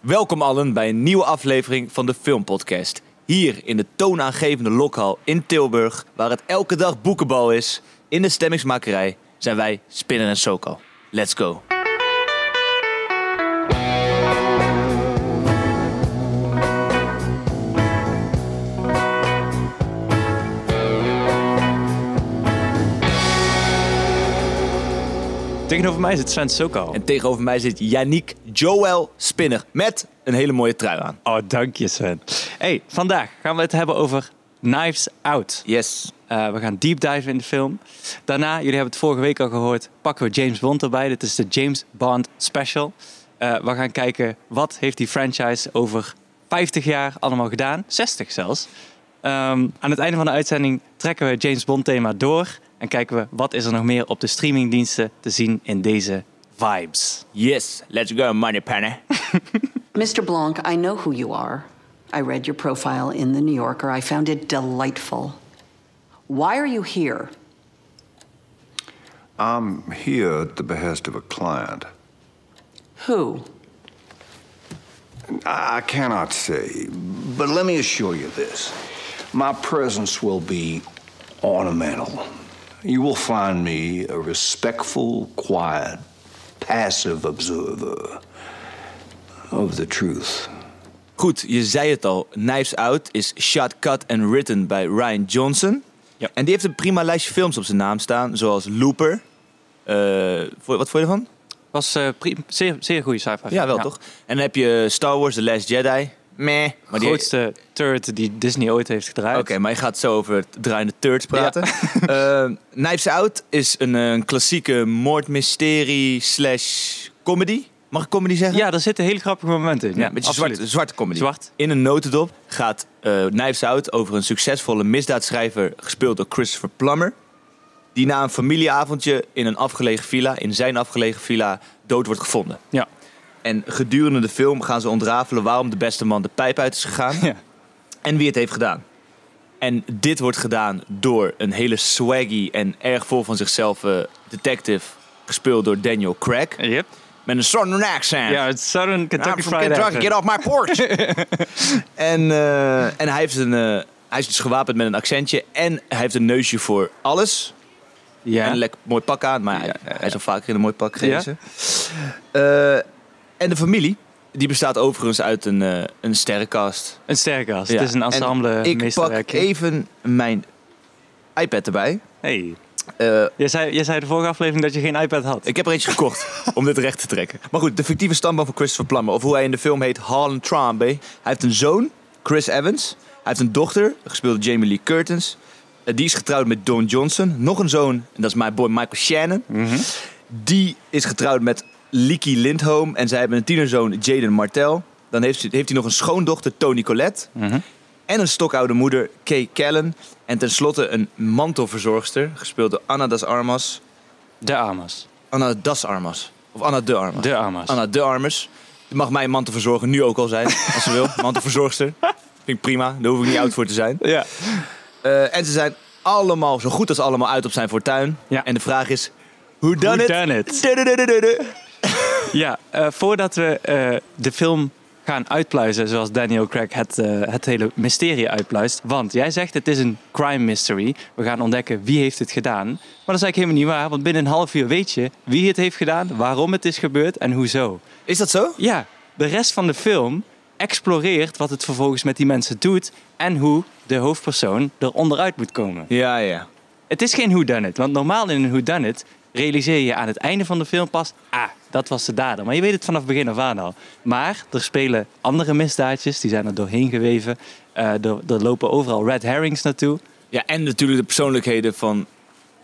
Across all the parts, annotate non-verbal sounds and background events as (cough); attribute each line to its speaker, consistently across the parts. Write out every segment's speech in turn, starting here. Speaker 1: Welkom allen bij een nieuwe aflevering van de Filmpodcast. Hier in de toonaangevende lokhal in Tilburg, waar het elke dag boekenbal is, in de stemmingsmakerij, zijn wij Spinner en Soko. Let's go.
Speaker 2: Tegenover mij zit Sven Sokal.
Speaker 1: En tegenover mij zit Yannick Joel Spinner met een hele mooie trui aan.
Speaker 2: Oh, dank je Sven. Hey, vandaag gaan we het hebben over Knives Out.
Speaker 1: Yes.
Speaker 2: Eh, we gaan deep dive in de film. Daarna, jullie hebben het vorige week al gehoord, pakken we James Bond erbij. Dit is de James Bond Special. Eh, we gaan kijken, wat heeft die franchise over 50 jaar allemaal gedaan? 60 zelfs. Ehm, aan het einde van de uitzending trekken we het James Bond thema door. En kijken we, wat is er nog meer op de streamingdiensten te zien in deze vibes.
Speaker 1: Yes, let's go money panner.
Speaker 3: Mr. Blanc, I know who you are. I read your profile in The New Yorker. I found it delightful. Why are you here?
Speaker 4: here at the behest of a client.
Speaker 3: Who?
Speaker 4: I I cannot say, but let me assure you this my presence will be ornamental. You will find me a respectful, quiet, passive observer of the truth.
Speaker 1: Goed, je zei het al. Knives Out is shot, cut en written bij Ryan Johnson.
Speaker 2: Ja.
Speaker 1: En die heeft een prima lijstje films op zijn naam staan, zoals Looper. Eh, vo- wat vond je ervan?
Speaker 2: Was eh, pri- zeer, zeer goede sci-fi.
Speaker 1: Ja, wel toch? En dan heb je Star Wars The Last Jedi. Meh. Maar
Speaker 2: De
Speaker 1: die...
Speaker 2: grootste turret die Disney ooit heeft gedraaid.
Speaker 1: Oké, maar je gaat zo over het draaiende turds praten. (laughs) Eh, Knives Out is een, eh, een klassieke moordmysterie slash comedy. Mag ik comedy zeggen?
Speaker 2: Ja, daar zitten hele grappige momenten in. Ja,
Speaker 1: Ja, een beetje
Speaker 2: absoluut.
Speaker 1: zwart, zwarte comedy.
Speaker 2: Zwart.
Speaker 1: In een notendop gaat eh Knives Out over een succesvolle misdaadschrijver gespeeld door Christopher Plummer. Die na een familieavondje in een afgelegen villa, in zijn afgelegen villa, dood wordt gevonden.
Speaker 2: Ja.
Speaker 1: En gedurende de film gaan ze ontrafelen waarom de beste man de pijp uit is gegaan
Speaker 2: Ja.
Speaker 1: en wie het heeft gedaan. En dit wordt gedaan door een hele swaggy en erg vol van zichzelf eh, detective, gespeeld door Daniel Craig.
Speaker 2: (laughs) Yep.
Speaker 1: Met een southern accent.
Speaker 2: Ja, het Southern Kentucky
Speaker 1: I'm from
Speaker 2: Fried
Speaker 1: Kentucky,
Speaker 2: Action.
Speaker 1: get off my
Speaker 2: (laughs)
Speaker 1: porch! en, eh, en hij, heeft een, eh, hij is dus gewapend met een accentje en hij heeft een neusje voor alles.
Speaker 2: Ja.
Speaker 1: En een lekker mooi pak aan, maar hij,
Speaker 2: Ja, ja,
Speaker 1: hij is al vaker in een mooi pak
Speaker 2: Ja.
Speaker 1: geweest. Eh, en de familie, die bestaat overigens uit een, eh, een sterrenkast.
Speaker 2: Een sterke gast.
Speaker 1: Ja.
Speaker 2: Dus Het is een
Speaker 1: En
Speaker 2: ensemble
Speaker 1: Ik pak
Speaker 2: meesterwerk.
Speaker 1: even mijn iPad erbij.
Speaker 2: Hey.
Speaker 1: Eh,
Speaker 2: Jij, zei, jij zei de vorige aflevering dat je geen iPad had.
Speaker 1: ik heb er eentje gekocht om dit recht te trekken. Maar goed, de fictieve stamboom van Christopher Plummer, of hoe hij in de film heet, Harlan Trambe. Hij heeft een zoon, Chris Evans. Hij heeft een dochter, gespeeld door Jamie Lee Curtis. Eh, die is getrouwd met Don Johnson. Nog een zoon, en dat is mijn boy Michael Shannon. Die is getrouwd met Licky Lindholm. En zij hebben een tienerzoon, Jaden Martel. Dan heeft, ze- heeft hij nog een schoondochter, Tony Colette. En een stokoude moeder, Kay Callan. En tenslotte een mantelverzorgster, gespeeld door Anna das Armas.
Speaker 2: De Amas.
Speaker 1: Anna Das Armas. Of Anna De Armas.
Speaker 2: De Amas.
Speaker 1: Anna De Armas. Die mag mijn mantelverzorger nu ook al
Speaker 2: (laughs)
Speaker 1: zijn, als ze wil. Mantelverzorgster. Vind ik prima, daar hoef ik niet oud voor te zijn.
Speaker 2: Ja.
Speaker 1: Eh, en ze zijn allemaal, zo goed als allemaal, uit op zijn fortuin.
Speaker 2: Ja.
Speaker 1: En de vraag is, who done it?
Speaker 2: done it?
Speaker 1: Du-du-du-du-du-du.
Speaker 2: Ja, eh, voordat we eh, de film gaan uitpluizen, zoals Daniel Craig het, eh, het hele mysterie uitpluist. Want jij zegt het is een crime mystery. We gaan ontdekken wie heeft het gedaan. Maar dat is eigenlijk helemaal niet waar, want binnen een half uur weet je wie het heeft gedaan, waarom het is gebeurd en hoezo.
Speaker 1: Is dat zo?
Speaker 2: Ja, de rest van de film exploreert wat het vervolgens met die mensen doet en hoe de hoofdpersoon er onderuit moet komen.
Speaker 1: Ja, ja.
Speaker 2: Het is geen whodunit, want normaal in een whodunit realiseer je aan het einde van de film pas... ah, dat was de dader. Maar je weet het vanaf begin af aan al. Maar er spelen andere misdaadjes, die zijn er doorheen geweven. Eh, er, er lopen overal red herrings naartoe.
Speaker 1: Ja, en natuurlijk de persoonlijkheden van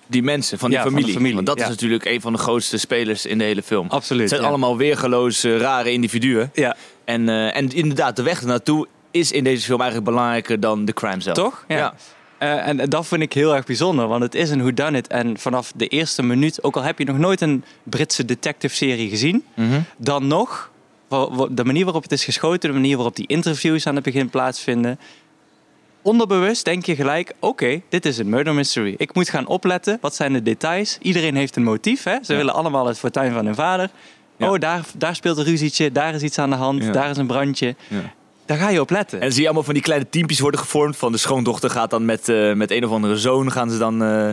Speaker 1: die mensen, van die
Speaker 2: Ja, van de
Speaker 1: familie.
Speaker 2: familie,
Speaker 1: Want dat
Speaker 2: ja.
Speaker 1: is natuurlijk een van de grootste spelers in de hele film.
Speaker 2: Absoluut,
Speaker 1: Het zijn
Speaker 2: ja.
Speaker 1: allemaal weergeloos, eh, rare individuen.
Speaker 2: Ja.
Speaker 1: En, eh, en inderdaad, de weg ernaartoe is in deze film eigenlijk belangrijker dan de crime zelf.
Speaker 2: Toch?
Speaker 1: Ja.
Speaker 2: Eh, en dat vind ik heel erg bijzonder, want het is een whodunit. En vanaf de eerste minuut, ook al heb je nog nooit een Britse detective-serie gezien,
Speaker 1: Mhm.
Speaker 2: dan nog, wa- wa- de manier waarop het is geschoten, de manier waarop die interviews aan het begin plaatsvinden. Onderbewust denk je gelijk, oké, dit is een murder mystery. Ik moet gaan opletten, wat zijn de details? Iedereen heeft een motief, hè? Ze willen allemaal het fortuin van hun vader.
Speaker 1: Ja.
Speaker 2: Oh, daar, daar speelt een ruzietje, daar is iets aan de hand,
Speaker 1: Ja.
Speaker 2: daar is een brandje.
Speaker 1: Ja.
Speaker 2: Daar ga je op letten.
Speaker 1: En dan zie je allemaal van die kleine teampjes worden gevormd. Van de schoondochter gaat dan met, eh, met een of andere zoon gaan ze dan eh,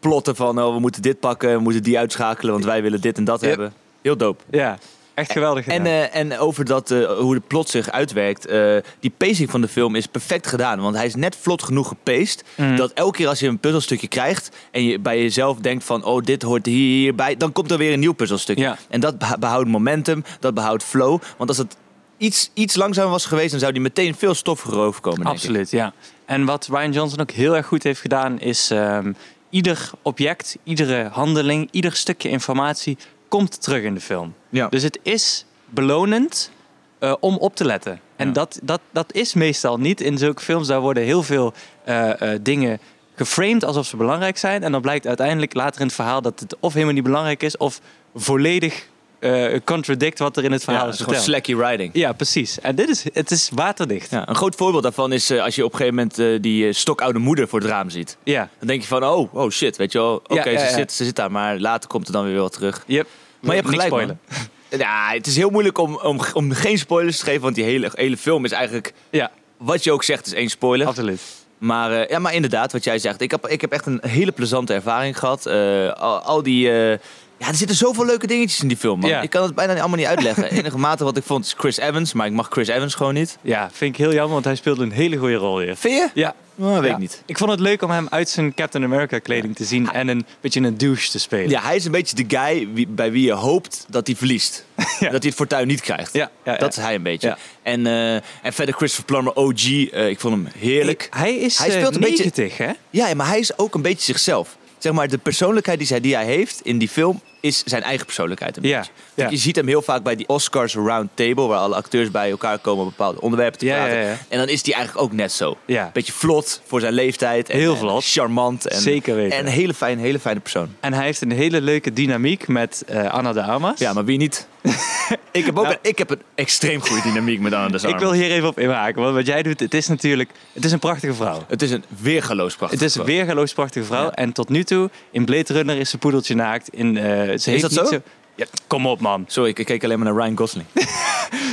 Speaker 1: plotten van oh, we moeten dit pakken, we moeten die uitschakelen, want wij willen dit en dat
Speaker 2: Yep.
Speaker 1: hebben. Heel dope.
Speaker 2: ja, echt geweldig gedaan.
Speaker 1: En, eh, en over dat, eh, hoe de plot zich uitwerkt. eh, die pacing van de film is perfect gedaan. Want hij is net vlot genoeg gepaced.
Speaker 2: Mm.
Speaker 1: Dat elke keer als je een puzzelstukje krijgt. en je bij jezelf denkt van. oh, dit hoort hier, hierbij. dan komt er weer een nieuw puzzelstukje.
Speaker 2: Ja.
Speaker 1: En dat beha- behoudt momentum. Dat behoudt flow. Want als het iets, iets langzamer was geweest. dan zou die meteen veel stoffiger overkomen. denk ik.
Speaker 2: Absoluut, ja. En wat Ryan Johnson ook heel erg goed heeft gedaan, is ehm, ieder object, iedere handeling, ieder stukje informatie komt terug in de film.
Speaker 1: Ja.
Speaker 2: Dus het is belonend eh, om op te letten. En
Speaker 1: Ja.
Speaker 2: dat, dat, dat is meestal niet in zulke films. Daar worden heel veel eh, eh, dingen geframed alsof ze belangrijk zijn. En dan blijkt uiteindelijk later in het verhaal dat het of helemaal niet belangrijk is, of volledig eh contradict wat er in het
Speaker 1: Ja,
Speaker 2: verhaal
Speaker 1: het
Speaker 2: is
Speaker 1: is gewoon
Speaker 2: verteld.
Speaker 1: slacky riding.
Speaker 2: Ja, precies. En dit is, het is waterdicht.
Speaker 1: Ja, een groot voorbeeld daarvan is eh, als je op een gegeven moment eh, die eh, stokoude moeder voor het raam ziet.
Speaker 2: ja.
Speaker 1: Dan denk je van, oh, oh shit, weet je wel. Oké,
Speaker 2: ja,
Speaker 1: ze,
Speaker 2: ja.
Speaker 1: Zit, ze zit daar, maar later komt er dan weer wel terug.
Speaker 2: Yep.
Speaker 1: Maar je hebt
Speaker 2: Niks
Speaker 1: gelijk,
Speaker 2: spoilen.
Speaker 1: man. (laughs) Ja, het is heel moeilijk om, om, om geen spoilers te geven, want die hele, hele film is eigenlijk...
Speaker 2: Ja,
Speaker 1: Wat je ook zegt is één spoiler.
Speaker 2: absoluut.
Speaker 1: Maar, eh, ja, maar inderdaad, wat jij zegt. Ik heb, ik heb echt een hele plezante ervaring gehad. Eh, al, al die... eh, ja, er zitten zoveel leuke dingetjes in die film, man.
Speaker 2: Ja.
Speaker 1: Ik kan het bijna allemaal niet
Speaker 2: (laughs)
Speaker 1: uitleggen. Enige mate wat ik vond is Chris Evans, maar ik mag Chris Evans gewoon niet.
Speaker 2: Ja, vind ik heel jammer, want hij speelde een hele goede rol hier.
Speaker 1: Vind je?
Speaker 2: Ja,
Speaker 1: Nou, weet
Speaker 2: Ja.
Speaker 1: ik niet.
Speaker 2: Ik vond het leuk om hem uit zijn Captain America kleding te zien en een beetje een douche te spelen.
Speaker 1: Ja, hij is een beetje de guy wie- bij wie je hoopt dat hij
Speaker 2: (laughs)
Speaker 1: verliest. Dat hij het fortuin niet krijgt.
Speaker 2: Ja, ja, ja.
Speaker 1: Dat is hij een beetje.
Speaker 2: Ja.
Speaker 1: En, eh, en verder Christopher Plummer, OG. eh, ik vond hem heerlijk.
Speaker 2: Hij is
Speaker 1: Hij speelt een beetje-
Speaker 2: 90, hè?
Speaker 1: Ja, maar hij is ook een beetje zichzelf. Zeg maar, de persoonlijkheid die hij, die hij heeft in die film is zijn eigen persoonlijkheid een
Speaker 2: Ja,
Speaker 1: beetje.
Speaker 2: ja.
Speaker 1: Want Je ziet hem heel vaak bij die Oscars Round Table, waar alle acteurs bij elkaar komen om bepaalde onderwerpen te
Speaker 2: Ja,
Speaker 1: praten.
Speaker 2: ja, ja.
Speaker 1: En dan is hij eigenlijk ook net zo.
Speaker 2: Ja.
Speaker 1: Beetje vlot voor zijn leeftijd. En,
Speaker 2: Heel
Speaker 1: en
Speaker 2: vlot.
Speaker 1: charmant. En,
Speaker 2: Zeker weten.
Speaker 1: En een hele, fijn, hele fijne persoon.
Speaker 2: En hij heeft een hele leuke dynamiek met eh, Anna de Armas.
Speaker 1: Ja, maar wie niet? (laughs) Nou. ik, heb ook een, ik heb een extreem goede dynamiek met Anna de
Speaker 2: Ik
Speaker 1: Armas.
Speaker 2: wil hier even op inhaken, want wat jij doet, het is natuurlijk... Het is een prachtige vrouw.
Speaker 1: Het is een weergaloos prachtig.
Speaker 2: Het is een
Speaker 1: vrouw.
Speaker 2: weergeloos prachtige vrouw.
Speaker 1: Ja.
Speaker 2: En tot nu toe, in Blade Runner is ze poedeltje naakt. In, eh, ze is heeft
Speaker 1: dat
Speaker 2: niet
Speaker 1: zo?
Speaker 2: Ja, kom op, man.
Speaker 1: Sorry, ik ik keek alleen maar naar Ryan
Speaker 2: (laughs)
Speaker 1: Gosling.
Speaker 2: Oh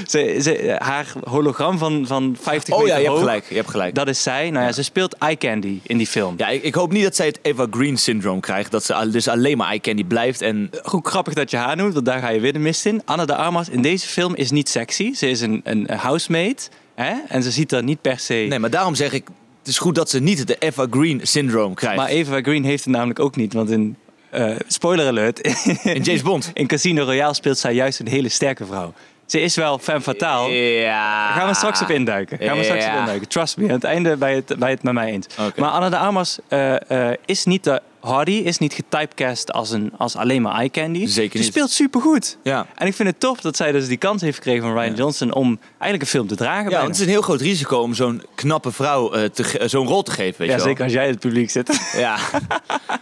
Speaker 2: Ze, ze, haar hologram van, van 50
Speaker 1: oh
Speaker 2: meter
Speaker 1: ja, je hebt
Speaker 2: hoog,
Speaker 1: gelijk. Je hebt gelijk.
Speaker 2: Dat is zij. Nou ja, ze speelt eye candy in die film.
Speaker 1: Ja, ik, ik hoop niet dat zij het Eva Green syndroom krijgt. Dat ze al- dus alleen maar eye candy blijft. En
Speaker 2: Goed grappig dat je haar noemt, want daar ga je weer de mist in. Anna de Armas in deze film is niet sexy. Ze is een, een housemaid. Hè? En ze ziet er niet per se...
Speaker 1: nee, maar daarom zeg ik, het is goed dat ze niet de Eva Green syndroom krijgt.
Speaker 2: Maar Eva Green heeft het namelijk ook niet. Want in... eh, spoiler alert. (laughs)
Speaker 1: en James Bond.
Speaker 2: in Casino Royale speelt zij juist een hele sterke vrouw. Ze is wel femme
Speaker 1: Eh,
Speaker 2: fatale.
Speaker 1: Ja.
Speaker 2: Daar gaan we straks op induiken. Gaan we straks op
Speaker 1: Ja.
Speaker 2: induiken. Trust me, aan het einde bij het, bij het met mij eens.
Speaker 1: Oké.
Speaker 2: Maar Anna de Armas eh, eh, is niet de Hardy, is niet getypecast als, een, als alleen maar eye candy.
Speaker 1: Zeker
Speaker 2: Ze
Speaker 1: niet.
Speaker 2: speelt supergoed.
Speaker 1: Ja.
Speaker 2: En ik vind het tof dat zij dus die kans heeft gekregen van Ryan Johnson om eigenlijk een film te dragen.
Speaker 1: Ja,
Speaker 2: bijna.
Speaker 1: want het is een heel groot risico om zo'n knappe vrouw eh, te ge- eh, zo'n rol te geven. Weet je
Speaker 2: ja
Speaker 1: wel.
Speaker 2: zeker als jij in het publiek
Speaker 1: (laughs)
Speaker 2: zit.
Speaker 1: Ja.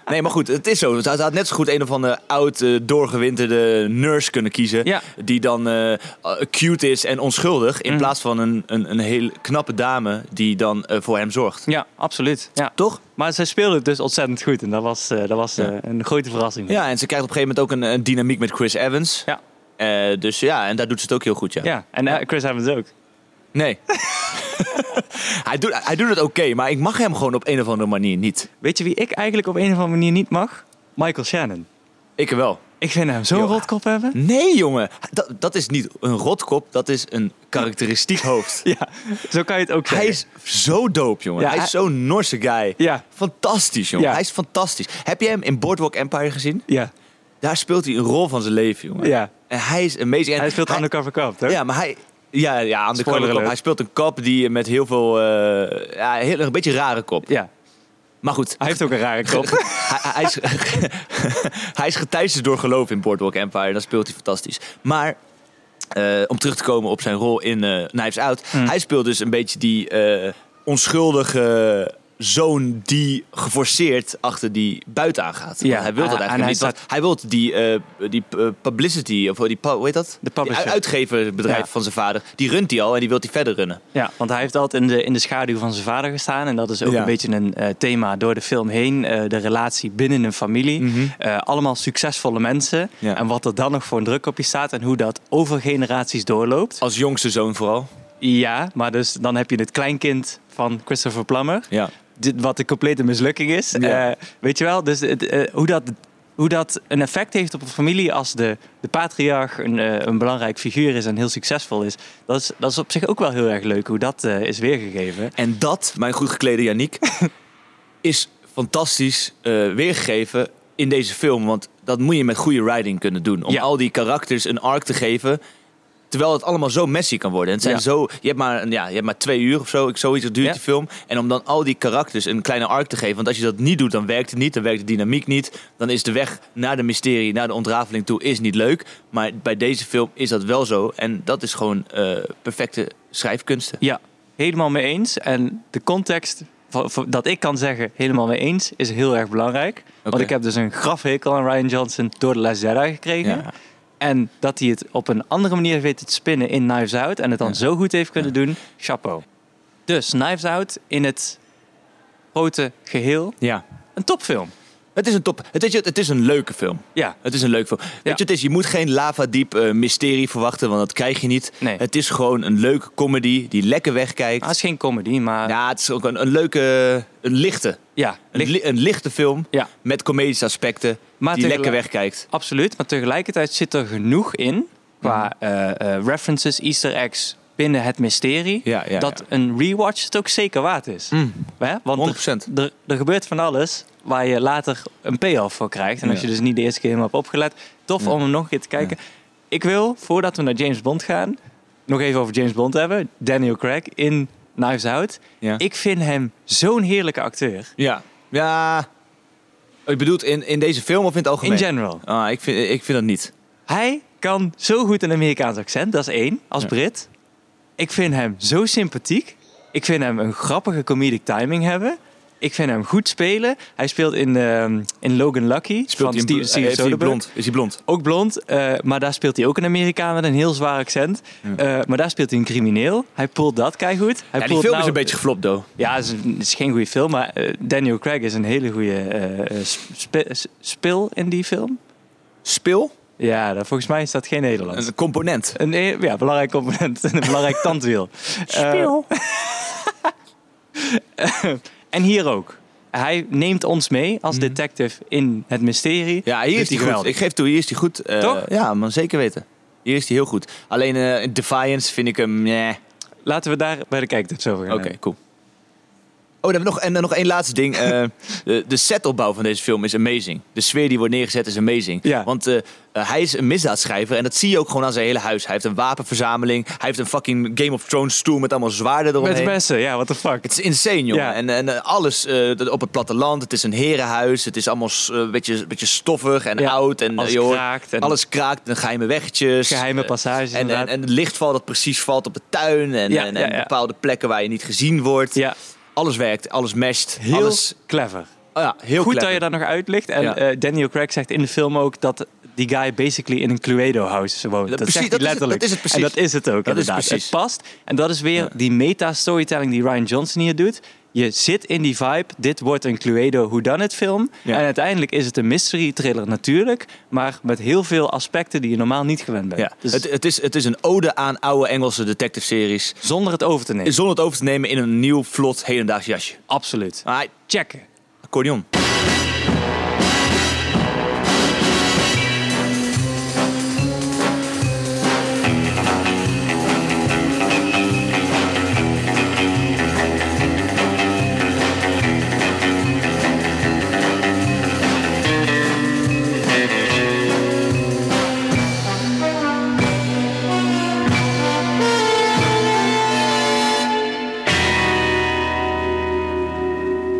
Speaker 1: Nee, maar goed, het is zo. Ze had net zo goed een of andere oud, eh, doorgewinterde nurse kunnen kiezen.
Speaker 2: Ja.
Speaker 1: Die dan eh, eh, cute is en onschuldig. In plaats van een, een, een heel knappe dame die dan eh, voor hem zorgt.
Speaker 2: ja, absoluut. Ja.
Speaker 1: Toch?
Speaker 2: Maar zij speelde het dus ontzettend goed. En dat was, eh, dat was eh,
Speaker 1: Ja.
Speaker 2: een grote verrassing.
Speaker 1: Ja, en ze krijgt op een gegeven moment ook een, een dynamiek met Chris Evans.
Speaker 2: Ja.
Speaker 1: Eh, dus ja, en daar doet ze het ook heel goed, ja.
Speaker 2: Ja, en eh, Chris Evans ook.
Speaker 1: Nee. hij, doet, hij doet het oké, maar ik mag hem gewoon op een of andere manier niet.
Speaker 2: Weet je wie ik eigenlijk op een of andere manier niet mag? Michael Shannon.
Speaker 1: Ik wel.
Speaker 2: Ik vind hem zo'n
Speaker 1: Joh.
Speaker 2: rotkop hebben.
Speaker 1: Nee, jongen. Dat, dat is niet een rotkop, dat is een karakteristiek hoofd.
Speaker 2: (laughs) Ja, zo kan je het ook
Speaker 1: Hij
Speaker 2: zeggen.
Speaker 1: is zo dope, jongen.
Speaker 2: Ja,
Speaker 1: hij
Speaker 2: hij-
Speaker 1: is zo'n Norse guy.
Speaker 2: Ja.
Speaker 1: Fantastisch, jongen.
Speaker 2: Ja.
Speaker 1: Hij is fantastisch. Heb jij hem in Boardwalk Empire gezien?
Speaker 2: Ja,
Speaker 1: Daar speelt hij een rol van zijn leven, jongen.
Speaker 2: Ja.
Speaker 1: En hij is amazing. En
Speaker 2: hij speelt undercover cop, toch?
Speaker 1: Ja, maar hij... Ja, ja aan de
Speaker 2: Spoiler alert.
Speaker 1: Hij speelt een kop die met heel veel... eh, ja, heel, een beetje een rare kop.
Speaker 2: Ja.
Speaker 1: Maar goed.
Speaker 2: Hij heeft ook een rare kop.
Speaker 1: hij, hij is, (laughs) hij is geteisterd door geloof in Boardwalk Empire. Dan speelt hij fantastisch. Maar eh, om terug te komen
Speaker 2: Hmm.
Speaker 1: op zijn rol in eh Knives Out. Hij speelt dus een beetje die eh, onschuldige zoon die geforceerd achter die buiten aangaat.
Speaker 2: Ja,
Speaker 1: Want hij wil dat
Speaker 2: en- en
Speaker 1: eigenlijk
Speaker 2: hij
Speaker 1: niet. want
Speaker 2: staat-
Speaker 1: hij wil die, eh, die eh, publicity, of die, pu- hoe heet dat?
Speaker 2: De publisher.
Speaker 1: Die u- uitgeverbedrijf
Speaker 2: Ja.
Speaker 1: van zijn vader. Die runt die al en die wil die verder runnen.
Speaker 2: (laughs) Ja, want hij heeft altijd in de, in de schaduw van zijn vader gestaan. En dat is ook
Speaker 1: Ja.
Speaker 2: een beetje een eh, thema door de film heen. Eh, de relatie binnen een familie. Eh, allemaal succesvolle mensen.
Speaker 1: Ja.
Speaker 2: En wat er dan nog voor een druk op je staat. En hoe dat over generaties doorloopt.
Speaker 1: Als jongste zoon vooral.
Speaker 2: Ja, maar dus dan heb je het kleinkind van Christopher Plummer.
Speaker 1: Ja.
Speaker 2: Dit, wat een complete mislukking is.
Speaker 1: Ja.
Speaker 2: Eh, weet je wel, dus het, eh, hoe, dat, hoe dat een effect heeft op een familie als de, de patriarch een, eh, een belangrijk figuur is en heel succesvol is. Dat is, dat is op zich ook wel heel erg leuk hoe dat eh, is weergegeven.
Speaker 1: En dat, mijn goed geklede
Speaker 2: (laughs)
Speaker 1: Yannick, is fantastisch eh, weergegeven in deze film. Want dat moet je met goede writing kunnen doen. Om
Speaker 2: Ja.
Speaker 1: al die karakters een arc te geven. Terwijl het allemaal zo messy kan worden. En het zijn
Speaker 2: Ja.
Speaker 1: zo, je, hebt maar, een- ja, je hebt maar twee uur of zo, ik- zoiets duurt
Speaker 2: Ja.
Speaker 1: die film. En om dan al die karakters een kleine arc te geven. Want als je dat niet doet, dan werkt het niet. Dan werkt de dynamiek niet. Dan is de weg naar de mysterie, naar de ontrafeling toe, is niet leuk. Maar bij deze film is dat wel zo. En dat is gewoon eh, perfecte schrijfkunsten.
Speaker 2: Ja, helemaal mee eens. En de context van, van- dat ik kan zeggen helemaal mee eens is heel erg belangrijk. Want
Speaker 1: Oké.
Speaker 2: ik heb dus een graf hekel aan Ryan Johnson door de Last Jedi gekregen.
Speaker 1: Ja.
Speaker 2: En dat hij het op een andere manier weet te spinnen in Knives Out. En het dan
Speaker 1: Ja.
Speaker 2: zo goed heeft kunnen doen. Chapeau. Dus Knives Out in het grote geheel.
Speaker 1: Ja.
Speaker 2: Een topfilm.
Speaker 1: Het is een top. Het is, het is een leuke film.
Speaker 2: Ja.
Speaker 1: Het is een leuk film. Weet je, het is, je moet geen lavadiep eh mysterie verwachten, want dat krijg je niet.
Speaker 2: Nee.
Speaker 1: Het is gewoon een leuke comedy die lekker wegkijkt.
Speaker 2: Maar het is geen comedy, maar ja.
Speaker 1: ja, het is ook een, een leuke, een lichte. Een,
Speaker 2: licht-
Speaker 1: li- een lichte film
Speaker 2: Ja.
Speaker 1: met comedische aspecten
Speaker 2: Maar
Speaker 1: die
Speaker 2: tegelijk-
Speaker 1: lekker wegkijkt.
Speaker 2: Absoluut, maar tegelijkertijd zit er genoeg in qua
Speaker 1: Mhm.
Speaker 2: eh, eh, references, easter eggs binnen het mysterie,
Speaker 1: Ja, ja, Mm.
Speaker 2: dat een rewatch het ook zeker waard is. Hè? Want er,
Speaker 1: 100%.
Speaker 2: er, er gebeurt van alles waar je later een payoff voor krijgt. En als
Speaker 1: Ja.
Speaker 2: je dus niet de eerste keer helemaal hebt opgelet, tof om hem nog een keer te kijken. Ik wil, voordat we naar James Bond gaan, nog even over James Bond hebben. Daniel Craig in Knives Out.
Speaker 1: Ja.
Speaker 2: Ik vind hem zo'n heerlijke acteur.
Speaker 1: Ja. Ja. Je bedoelt in, in deze film of in het algemeen?
Speaker 2: In general.
Speaker 1: Ah, ik, vind, ik vind dat niet.
Speaker 2: Hij kan zo goed een Amerikaans accent, dat is één, als
Speaker 1: Ja.
Speaker 2: Brit. Ik vind hem zo sympathiek. Ik vind hem een grappige comedic timing hebben. Ik vind hem goed spelen. Hij speelt in, ehm, in Logan Lucky
Speaker 1: Speelt
Speaker 2: van
Speaker 1: hij een bl- eh,
Speaker 2: Steven, Steven
Speaker 1: heeft hij
Speaker 2: Soderbergh.
Speaker 1: blond? Is hij blond?
Speaker 2: Ook blond, eh, maar daar speelt hij ook een Amerikaan met een heel zwaar accent. Eh, maar daar speelt hij een crimineel. Hij pult dat keigoed. Hij
Speaker 1: Ja, die
Speaker 2: pult
Speaker 1: film is
Speaker 2: nou-
Speaker 1: een beetje geflopt, though.
Speaker 2: Ja, het is, een- het is geen goede film, maar eh, Daniel Craig is een hele goede eh, eh, sp- spe- spil in die film.
Speaker 1: Spil?
Speaker 2: Ja, daar- volgens mij is dat geen Nederlands.
Speaker 1: Een component.
Speaker 2: Een e- ja, belangrijk component en (laughs) een belangrijk tandwiel.
Speaker 1: Eh,
Speaker 2: Speel. Eh, en hier ook. Hij neemt ons mee als detective in het mysterie.
Speaker 1: Mhm. Ja, hier
Speaker 2: Dus
Speaker 1: is hij goed.
Speaker 2: geweldig.
Speaker 1: Ik geef toe, hier is hij goed. Eh,
Speaker 2: Toch?
Speaker 1: Ja, man, zeker weten. Hier is hij heel goed. Alleen eh, in Defiance vind ik hem... Nee.
Speaker 2: Laten we daar bij de kijktips over gaan.
Speaker 1: Oké,
Speaker 2: hebben.
Speaker 1: cool. Oh, dan hebben we nog, en dan nog één laatste ding. Eh, de, de setopbouw van deze film is amazing. De sfeer die wordt neergezet is amazing.
Speaker 2: Ja.
Speaker 1: Want eh, eh, hij is een misdaadschrijver en dat zie je ook gewoon aan zijn hele huis. Hij heeft een wapenverzameling. Hij heeft een fucking Game of Thrones stoel met allemaal zwaarden eromheen.
Speaker 2: Met messen, ja, what the fuck.
Speaker 1: Het is insane, jongen.
Speaker 2: Ja.
Speaker 1: En, en eh, alles eh, dat- op het platteland. Het is een herenhuis. Het is allemaal eh, een beetje, een beetje stoffig en
Speaker 2: Ja,
Speaker 1: oud. En, eh,
Speaker 2: alles
Speaker 1: je hoort-
Speaker 2: kraakt en-
Speaker 1: alles kraakt. En geheime weggetjes.
Speaker 2: Geheime
Speaker 1: Eh,
Speaker 2: passages,
Speaker 1: En, en,
Speaker 2: inderdaad.
Speaker 1: en het lichtval dat precies valt op de tuin. En,
Speaker 2: Ja,
Speaker 1: en,
Speaker 2: ja,
Speaker 1: en
Speaker 2: ja.
Speaker 1: bepaalde plekken waar je niet gezien wordt.
Speaker 2: Ja,
Speaker 1: Alles werkt. Alles mesht.
Speaker 2: heel
Speaker 1: alles,
Speaker 2: clever.
Speaker 1: oh ja, heel
Speaker 2: Goed dat
Speaker 1: clever.
Speaker 2: je dat nog uitlicht. En
Speaker 1: Ja.
Speaker 2: eh, Daniel Craig zegt in de film ook dat die guy basically in een Cluedo house woont.
Speaker 1: Dat
Speaker 2: Dat,
Speaker 1: precies,
Speaker 2: zegt
Speaker 1: dat
Speaker 2: hij
Speaker 1: is het-
Speaker 2: letterlijk.
Speaker 1: dat is het precies.
Speaker 2: En dat is het ook
Speaker 1: Dat is
Speaker 2: inderdaad.
Speaker 1: precies.
Speaker 2: Het past. En dat is weer die meta-storytelling die Ryan Johnson hier doet. Je zit in die vibe. Dit wordt een Cluedo Who Done It film.
Speaker 1: Ja.
Speaker 2: En uiteindelijk is het een mystery thriller natuurlijk. Maar met heel veel aspecten die je normaal niet gewend bent.
Speaker 1: Ja.
Speaker 2: Dus
Speaker 1: het, het, is, het is een ode aan oude Engelse detective-series.
Speaker 2: zonder het over te nemen.
Speaker 1: Zonder het over te nemen in een nieuw, vlot, hedendaags jasje.
Speaker 2: Absoluut.
Speaker 1: Alright,
Speaker 2: Checken.
Speaker 1: accordeon.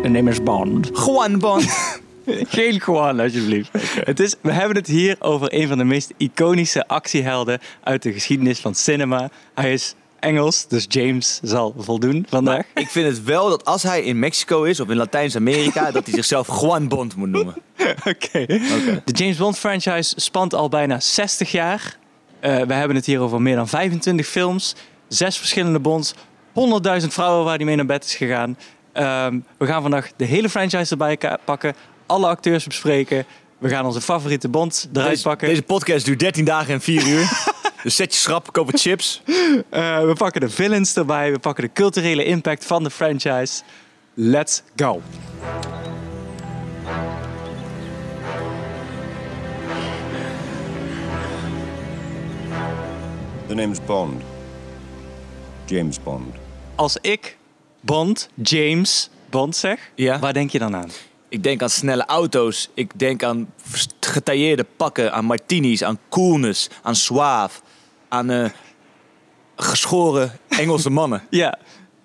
Speaker 2: Een name is Bond.
Speaker 1: Juan Bond.
Speaker 2: Geen Juan, alsjeblieft. (laughs) Het is, we hebben het hier over een van de meest iconische actiehelden uit de geschiedenis van cinema. Hij is Engels, dus James zal voldoen vandaag.
Speaker 1: Ik vind het wel dat als hij in Mexico is of in
Speaker 2: (laughs)
Speaker 1: Latijns-Amerika, dat hij zichzelf Juan Bond moet noemen.
Speaker 2: Oké. De James Bond franchise spant al bijna 60 jaar. Eh, we hebben het hier over meer dan 25 films, zes verschillende bonds, 100.000 vrouwen waar hij mee naar bed is gegaan. Ehm, we gaan vandaag de hele franchise erbij ka- pakken, alle acteurs bespreken. We gaan onze favoriete bond eruit
Speaker 1: Deze,
Speaker 2: pakken.
Speaker 1: deze podcast duurt 13 dagen en 4 uur. Dus zet je schrap, koop wat chips.
Speaker 2: Eh, we pakken de villains erbij, we pakken de culturele impact van de franchise. Let's go.
Speaker 5: The name's Bond. James Bond.
Speaker 2: Als ik Bond, James Bond zeg,
Speaker 1: Ja.
Speaker 2: waar denk je dan aan?
Speaker 1: Ik denk aan snelle auto's. Ik denk aan vers- getailleerde pakken, aan martinis, aan coolness, aan suave, aan eh, geschoren Engelse mannen.
Speaker 2: Ja.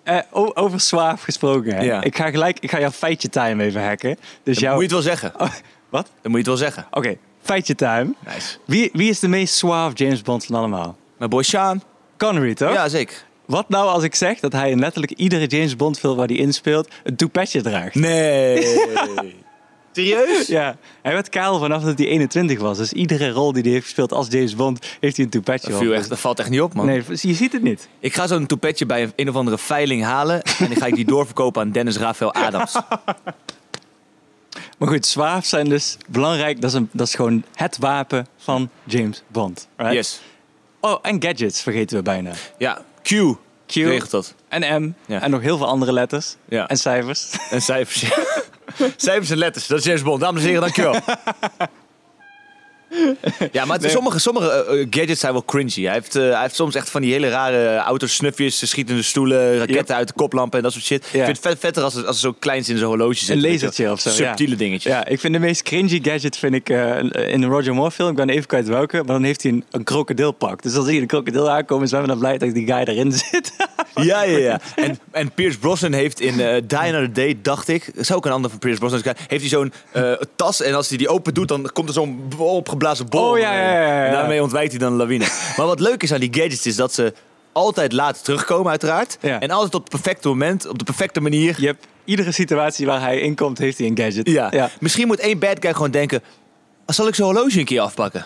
Speaker 2: Eh, o- over Zwaaf gesproken. Hè?
Speaker 1: Ja.
Speaker 2: Ik ga gelijk, ik ga jouw feitje time even hacken. Dus
Speaker 1: Dan
Speaker 2: jouw...
Speaker 1: moet je het wel zeggen.
Speaker 2: Oh, wat?
Speaker 1: Dan moet je het wel zeggen.
Speaker 2: Oké, feitje time.
Speaker 1: Nice.
Speaker 2: Wie, wie is de meest Zwaaf James Bond van allemaal?
Speaker 1: Mijn boy Sean.
Speaker 2: Connery, toch?
Speaker 1: Ja, zeker.
Speaker 2: Wat nou als ik zeg dat hij in letterlijk iedere James Bond film waar hij inspeelt een toepetje draagt? (laughs)
Speaker 1: Nee. Serieus?
Speaker 2: Ja, hij werd kaal vanaf dat hij 21 was. Dus iedere rol die hij heeft gespeeld als James Bond, heeft hij een toepetje
Speaker 1: Dat,
Speaker 2: op.
Speaker 1: viel echt, dat valt echt niet op, man.
Speaker 2: Nee, je ziet het niet.
Speaker 1: Ik ga zo'n toepetje bij een, een of andere veiling halen. En dan ga (laughs) ik die doorverkopen aan Dennis Rafael Adams.
Speaker 2: Maar goed, zwaaf zijn dus belangrijk. Dat is, een, dat is gewoon het wapen van James Bond. right?
Speaker 1: Yes.
Speaker 2: Oh, en gadgets vergeten we bijna.
Speaker 1: Ja, Q.
Speaker 2: Q
Speaker 1: Regelt dat.
Speaker 2: en M
Speaker 1: Ja.
Speaker 2: en nog heel veel andere letters
Speaker 1: Ja.
Speaker 2: en cijfers.
Speaker 1: En cijfers. (laughs) cijfers en letters. Dat is James Bond. Dames en heren, (laughs) dankjewel. Ja, maar het- sommige, sommige eh, eh, gadgets zijn wel cringy. Hij heeft, eh, hij heeft soms echt van die hele rare eh, autosnufjes, schietende stoelen, raketten
Speaker 2: Yep.
Speaker 1: uit de koplampen en dat soort shit. Ik vind het vet, vetter als, het- als er zo kleins in zo'n horloge zit.
Speaker 2: (laughs) Een
Speaker 1: weet je wel.
Speaker 2: lasertje of zo.
Speaker 1: Subtiele
Speaker 2: ja.
Speaker 1: dingetjes.
Speaker 2: Ja, ik vind de meest cringy gadget vind ik eh, in een Roger Moore film. Ik ben even kwijt welke, maar dan heeft hij een, een krokodilpak. Dus als hij een krokodil aankomt, zijn we dan blij dat die guy erin (laughs) zit.
Speaker 1: Ja, ja, ja. En, en Pierce Brosnan heeft in eh Die Another Day, dacht ik, dat is ook een ander van Pierce Brosnan, heeft hij zo'n eh, tas en als hij die open doet, dan komt er zo'n b- opgeblazen bol.
Speaker 2: Oh, ja, ja, ja, ja, ja.
Speaker 1: En daarmee ontwijkt hij dan een lawine. maar wat leuk is aan die gadgets is dat ze altijd laat terugkomen, uiteraard.
Speaker 2: Ja.
Speaker 1: En altijd op het perfecte moment, op de perfecte manier.
Speaker 2: Je hebt iedere situatie waar hij in komt, heeft hij een gadget.
Speaker 1: Ja. Misschien moet één bad guy gewoon denken, zal ik zo'n horloge een keer
Speaker 2: (laughs)
Speaker 1: afpakken?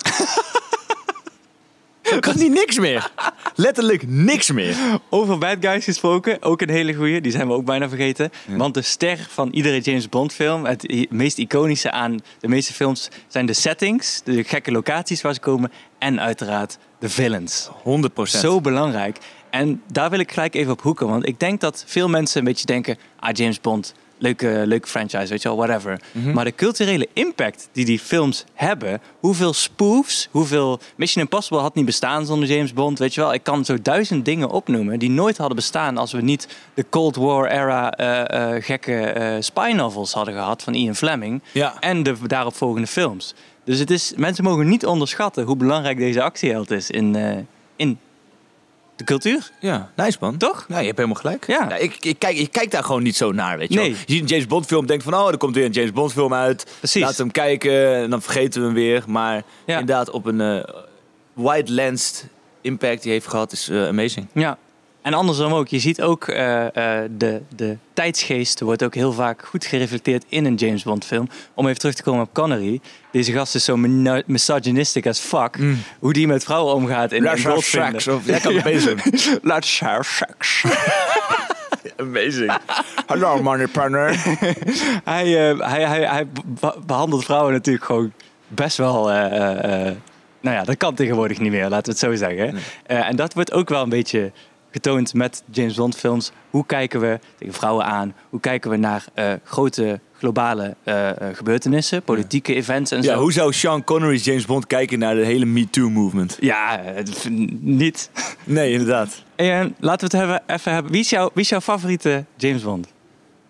Speaker 1: Dan kan hij niks meer. Letterlijk niks meer.
Speaker 2: Over bad guys gesproken, ook een hele goeie. Die zijn we ook bijna vergeten. Want de ster van iedere James Bond film, het i- meest iconische aan de meeste films, zijn de settings, de gekke locaties waar ze komen en uiteraard de villains.
Speaker 1: 100
Speaker 2: Zo belangrijk. En daar wil ik gelijk even op hoeken, want ik denk dat veel mensen een beetje denken, ah James Bond, leuke, leuke franchise, weet je wel, whatever. Maar de culturele impact die die films hebben, hoeveel spoofs, hoeveel Mission Impossible had niet bestaan zonder James Bond, weet je wel. Ik kan zo duizend dingen opnoemen die nooit hadden bestaan als we niet de Cold War era eh, eh, gekke eh, spy novels hadden gehad van Ian Fleming
Speaker 1: Ja.
Speaker 2: en de daaropvolgende films. Dus het is, mensen mogen niet onderschatten hoe belangrijk deze actieheld is in, eh, in de cultuur.
Speaker 1: Ja, nice man.
Speaker 2: Toch?
Speaker 1: Ja, je hebt helemaal gelijk. Nou,
Speaker 2: Ja.
Speaker 1: ik, ik, kijk, ik kijk daar gewoon niet zo naar, weet je
Speaker 2: Nee.
Speaker 1: wel. Je ziet een James Bond film, denkt van, oh, er komt weer een James Bond film uit.
Speaker 2: Precies.
Speaker 1: Laten we hem kijken en dan vergeten we hem weer. Maar
Speaker 2: Ja.
Speaker 1: inderdaad, op een eh, wide lensed impact die hij heeft gehad, is eh, amazing.
Speaker 2: Ja. En andersom ook, je ziet ook eh, eh, de, de tijdsgeest wordt ook heel vaak goed gereflecteerd in een James Bond film. Om even terug te komen op Connery. Deze gast is zo mino- misogynistic as fuck.
Speaker 1: Mm.
Speaker 2: Hoe die met vrouwen omgaat in in Goldfinger.
Speaker 1: of jij kan
Speaker 2: (laughs)
Speaker 1: het bezig doen.
Speaker 2: Let's have sex.
Speaker 1: Amazing. (laughs) Hallo, money
Speaker 2: (laughs)
Speaker 1: partner.
Speaker 2: Hij, eh, hij, hij, hij be- behandelt vrouwen natuurlijk gewoon best wel. eh, eh, eh, nou ja, dat kan tegenwoordig niet meer, laten we het zo zeggen. Eh, en dat wordt ook wel een beetje getoond met James Bond films. Hoe kijken we tegen vrouwen aan? Hoe kijken we naar eh, grote globale eh, eh, gebeurtenissen, politieke events en
Speaker 1: ja,
Speaker 2: zo?
Speaker 1: hoe zou Sean Connery's James Bond kijken naar de hele Me Too movement?
Speaker 2: Ja, het- niet. (laughs)
Speaker 1: Nee, inderdaad.
Speaker 2: En laten we het hebben, even hebben. Wie is, jouw, wie is jouw favoriete James Bond?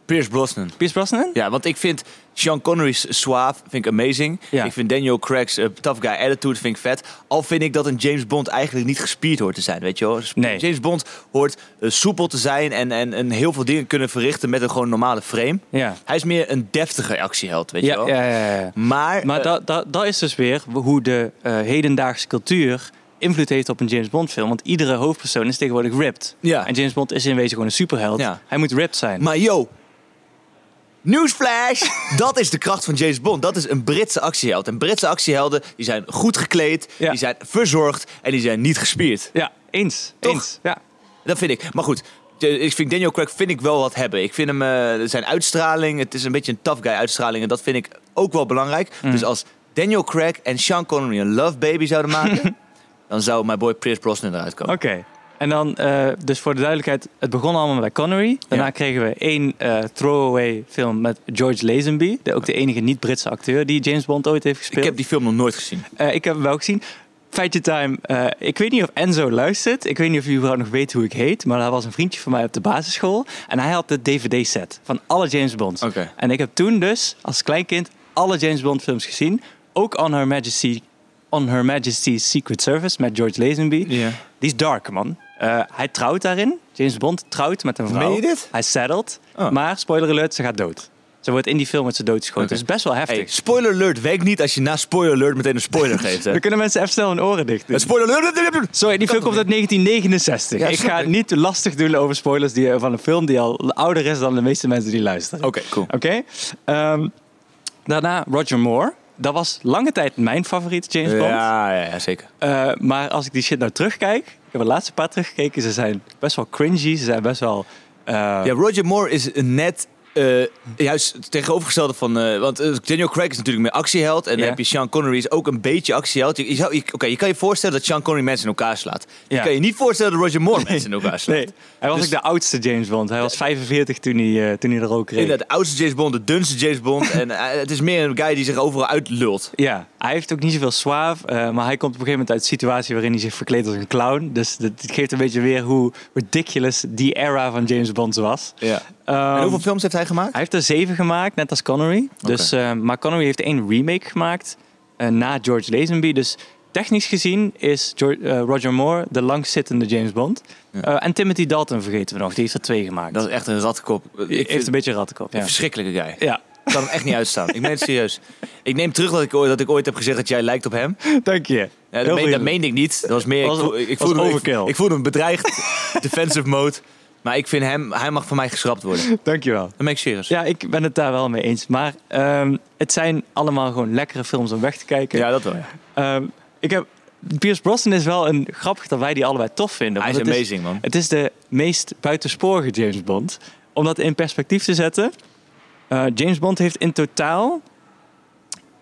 Speaker 1: Pierce Brosnan.
Speaker 2: Pierce Brosnan?
Speaker 1: Ja, want ik vind Sean Connery's suave vind ik amazing.
Speaker 2: Ja.
Speaker 1: Ik vind Daniel Craig's eh, tough guy attitude vind ik vet. Al vind ik dat een James Bond eigenlijk niet gespierd hoort te zijn, weet je wel. Sp-
Speaker 2: Nee.
Speaker 1: James Bond hoort eh, soepel te zijn en, en, en heel veel dingen kunnen verrichten met een gewoon normale frame.
Speaker 2: Ja.
Speaker 1: Hij is meer een deftige actieheld, weet je
Speaker 2: Ja,
Speaker 1: wel.
Speaker 2: ja, ja, ja.
Speaker 1: Maar,
Speaker 2: Maar
Speaker 1: eh,
Speaker 2: dat, dat, dat is dus weer hoe de eh, hedendaagse cultuur invloed heeft op een James Bond film. Want iedere hoofdpersoon is tegenwoordig ripped.
Speaker 1: Ja.
Speaker 2: En James Bond is in wezen gewoon een superheld.
Speaker 1: Ja.
Speaker 2: Hij moet ripped zijn.
Speaker 1: Maar yo,
Speaker 2: (laughs)
Speaker 1: newsflash! dat is de kracht van James Bond. Dat is een Britse actieheld. En Britse actiehelden die zijn goed gekleed,
Speaker 2: Ja.
Speaker 1: die zijn verzorgd en die zijn niet gespierd.
Speaker 2: ja, eens.
Speaker 1: Toch?
Speaker 2: Eens. Ja.
Speaker 1: Dat vind ik. Maar goed, eh, ik vind Daniel Craig vind ik wel wat hebben. Ik vind hem eh, zijn uitstraling, het is een beetje een tough guy uitstraling en dat vind ik ook wel belangrijk.
Speaker 2: Mm.
Speaker 1: Dus als Daniel Craig en Sean Connery een love baby
Speaker 2: (laughs)
Speaker 1: zouden maken, dan zou mijn boy Pierce Brosnan eruit komen.
Speaker 2: Oké. En dan, eh, dus voor de duidelijkheid, het begon allemaal bij Connery. Daarna
Speaker 1: Ja.
Speaker 2: kregen we één eh, throwaway film met George Lazenby. De, ook de enige niet-Britse acteur die James Bond ooit heeft gespeeld.
Speaker 1: Ik heb die film nog nooit gezien.
Speaker 2: Eh, ik heb hem wel gezien. Feitje time. eh, ik weet niet of Enzo luistert. Ik weet niet of jullie überhaupt nog weet hoe ik heet. Maar hij was een vriendje van mij op de basisschool. En hij had de DVD-set van alle James Bonds.
Speaker 1: Oké.
Speaker 2: En ik heb toen dus, als klein kind, alle James Bond films gezien. Ook On Her, Majesty, On Her Majesty's Secret Service met George Lazenby.
Speaker 1: Ja.
Speaker 2: Die is dark, man. Eh, hij trouwt daarin. James Bond trouwt met een vrouw.
Speaker 1: Meen je dit?
Speaker 2: Hij settled.
Speaker 1: Oh.
Speaker 2: Maar, spoiler alert, ze gaat dood. Ze wordt in die film met ze doodgeschoten.
Speaker 1: Oké.
Speaker 2: Dus best wel heftig.
Speaker 1: Hey, spoiler alert werkt niet als je na spoiler alert meteen een
Speaker 2: (laughs)
Speaker 1: spoiler geeft. Hè?
Speaker 2: Dan kunnen mensen even snel hun oren dicht doen.
Speaker 1: Het spoiler alert!
Speaker 2: Sorry, die film
Speaker 1: toch
Speaker 2: komt uit 1969.
Speaker 1: Ja,
Speaker 2: ik
Speaker 1: snap
Speaker 2: ga
Speaker 1: ik.
Speaker 2: niet lastig doen over spoilers die, eh, van een film die al ouder is dan de meeste mensen die luisteren.
Speaker 1: Oké, cool.
Speaker 2: Oké? Ehm, daarna Roger Moore. Dat was lange tijd mijn favoriete James Bond.
Speaker 1: Ja, ja, ja, zeker.
Speaker 2: Eh, maar als ik die shit nou terugkijk, ik heb de laatste paar teruggekeken, ze zijn best wel cringy, ze zijn best wel... eh,
Speaker 1: Ja, Roger Moore is net eh, juist het tegenovergestelde van... eh, want eh, Daniel Craig is natuurlijk meer actieheld. En dan
Speaker 2: Ja.
Speaker 1: heb je Sean Connery is ook een beetje actieheld. Je, je zou, je, oké, je kan je voorstellen dat Sean Connery mensen in elkaar slaat. Je
Speaker 2: Ja.
Speaker 1: kan je niet voorstellen dat Roger Moore mensen in elkaar slaat.
Speaker 2: Nee, hij was
Speaker 1: Dus-
Speaker 2: ook de oudste James Bond. Hij was 45 toen hij, eh, toen hij de rook kreeg.
Speaker 1: Inderdaad, de oudste James Bond, de dunste James Bond. en eh, het is meer een guy die zich overal uitlult.
Speaker 2: Ja, hij heeft ook niet zoveel zwaaf, eh, maar hij komt op een gegeven moment uit een situatie waarin hij zich verkleedt als een clown. Dus dat dit geeft een beetje weer hoe ridiculous die era van James Bond was.
Speaker 1: Ja.
Speaker 2: Ehm,
Speaker 1: en hoeveel films heeft hij gemaakt?
Speaker 2: Hij heeft er zeven gemaakt, net als Connery. Dus, eh, maar Connery heeft één remake gemaakt eh, na George Lazenby. Dus technisch gezien is George- eh, Roger Moore de langzittende James Bond. Eh, en Timothy Dalton vergeten we nog, die heeft er twee gemaakt.
Speaker 1: Dat is echt een ratkop. Ik
Speaker 2: heeft
Speaker 1: vind-
Speaker 2: een beetje een rattenkop.
Speaker 1: een
Speaker 2: Ja.
Speaker 1: verschrikkelijke guy.
Speaker 2: ja,
Speaker 1: Ik kan hem echt niet uitstaan. Ik meen het serieus. Ik neem terug dat ik, ooit- dat ik ooit heb gezegd dat jij lijkt op hem.
Speaker 2: dank je.
Speaker 1: Ja,
Speaker 2: Heel
Speaker 1: dat, meen, dat
Speaker 2: vriendelijk.
Speaker 1: meende ik niet. Dat was meer.
Speaker 2: Was-
Speaker 1: ik, voel- ik,
Speaker 2: was
Speaker 1: voelde me,
Speaker 2: overkill.
Speaker 1: Ik, ik voelde me bedreigd. (laughs) defensive mode. Maar ik vind hem. Hij mag van mij geschrapt worden. Dat
Speaker 2: Dankjewel.
Speaker 1: meen ik serieus.
Speaker 2: Ja, ik ben het daar wel mee eens. Maar ehm, het zijn allemaal gewoon lekkere films om weg te kijken.
Speaker 1: Ja, dat wel. ja.
Speaker 2: Ehm, ik heb, Pierce Brosnan is wel een grappig dat wij die allebei tof vinden.
Speaker 1: Hij is
Speaker 2: want het
Speaker 1: amazing, man.
Speaker 2: Het is de meest buitensporige James Bond. Om dat in perspectief te zetten. eh, James Bond heeft in totaal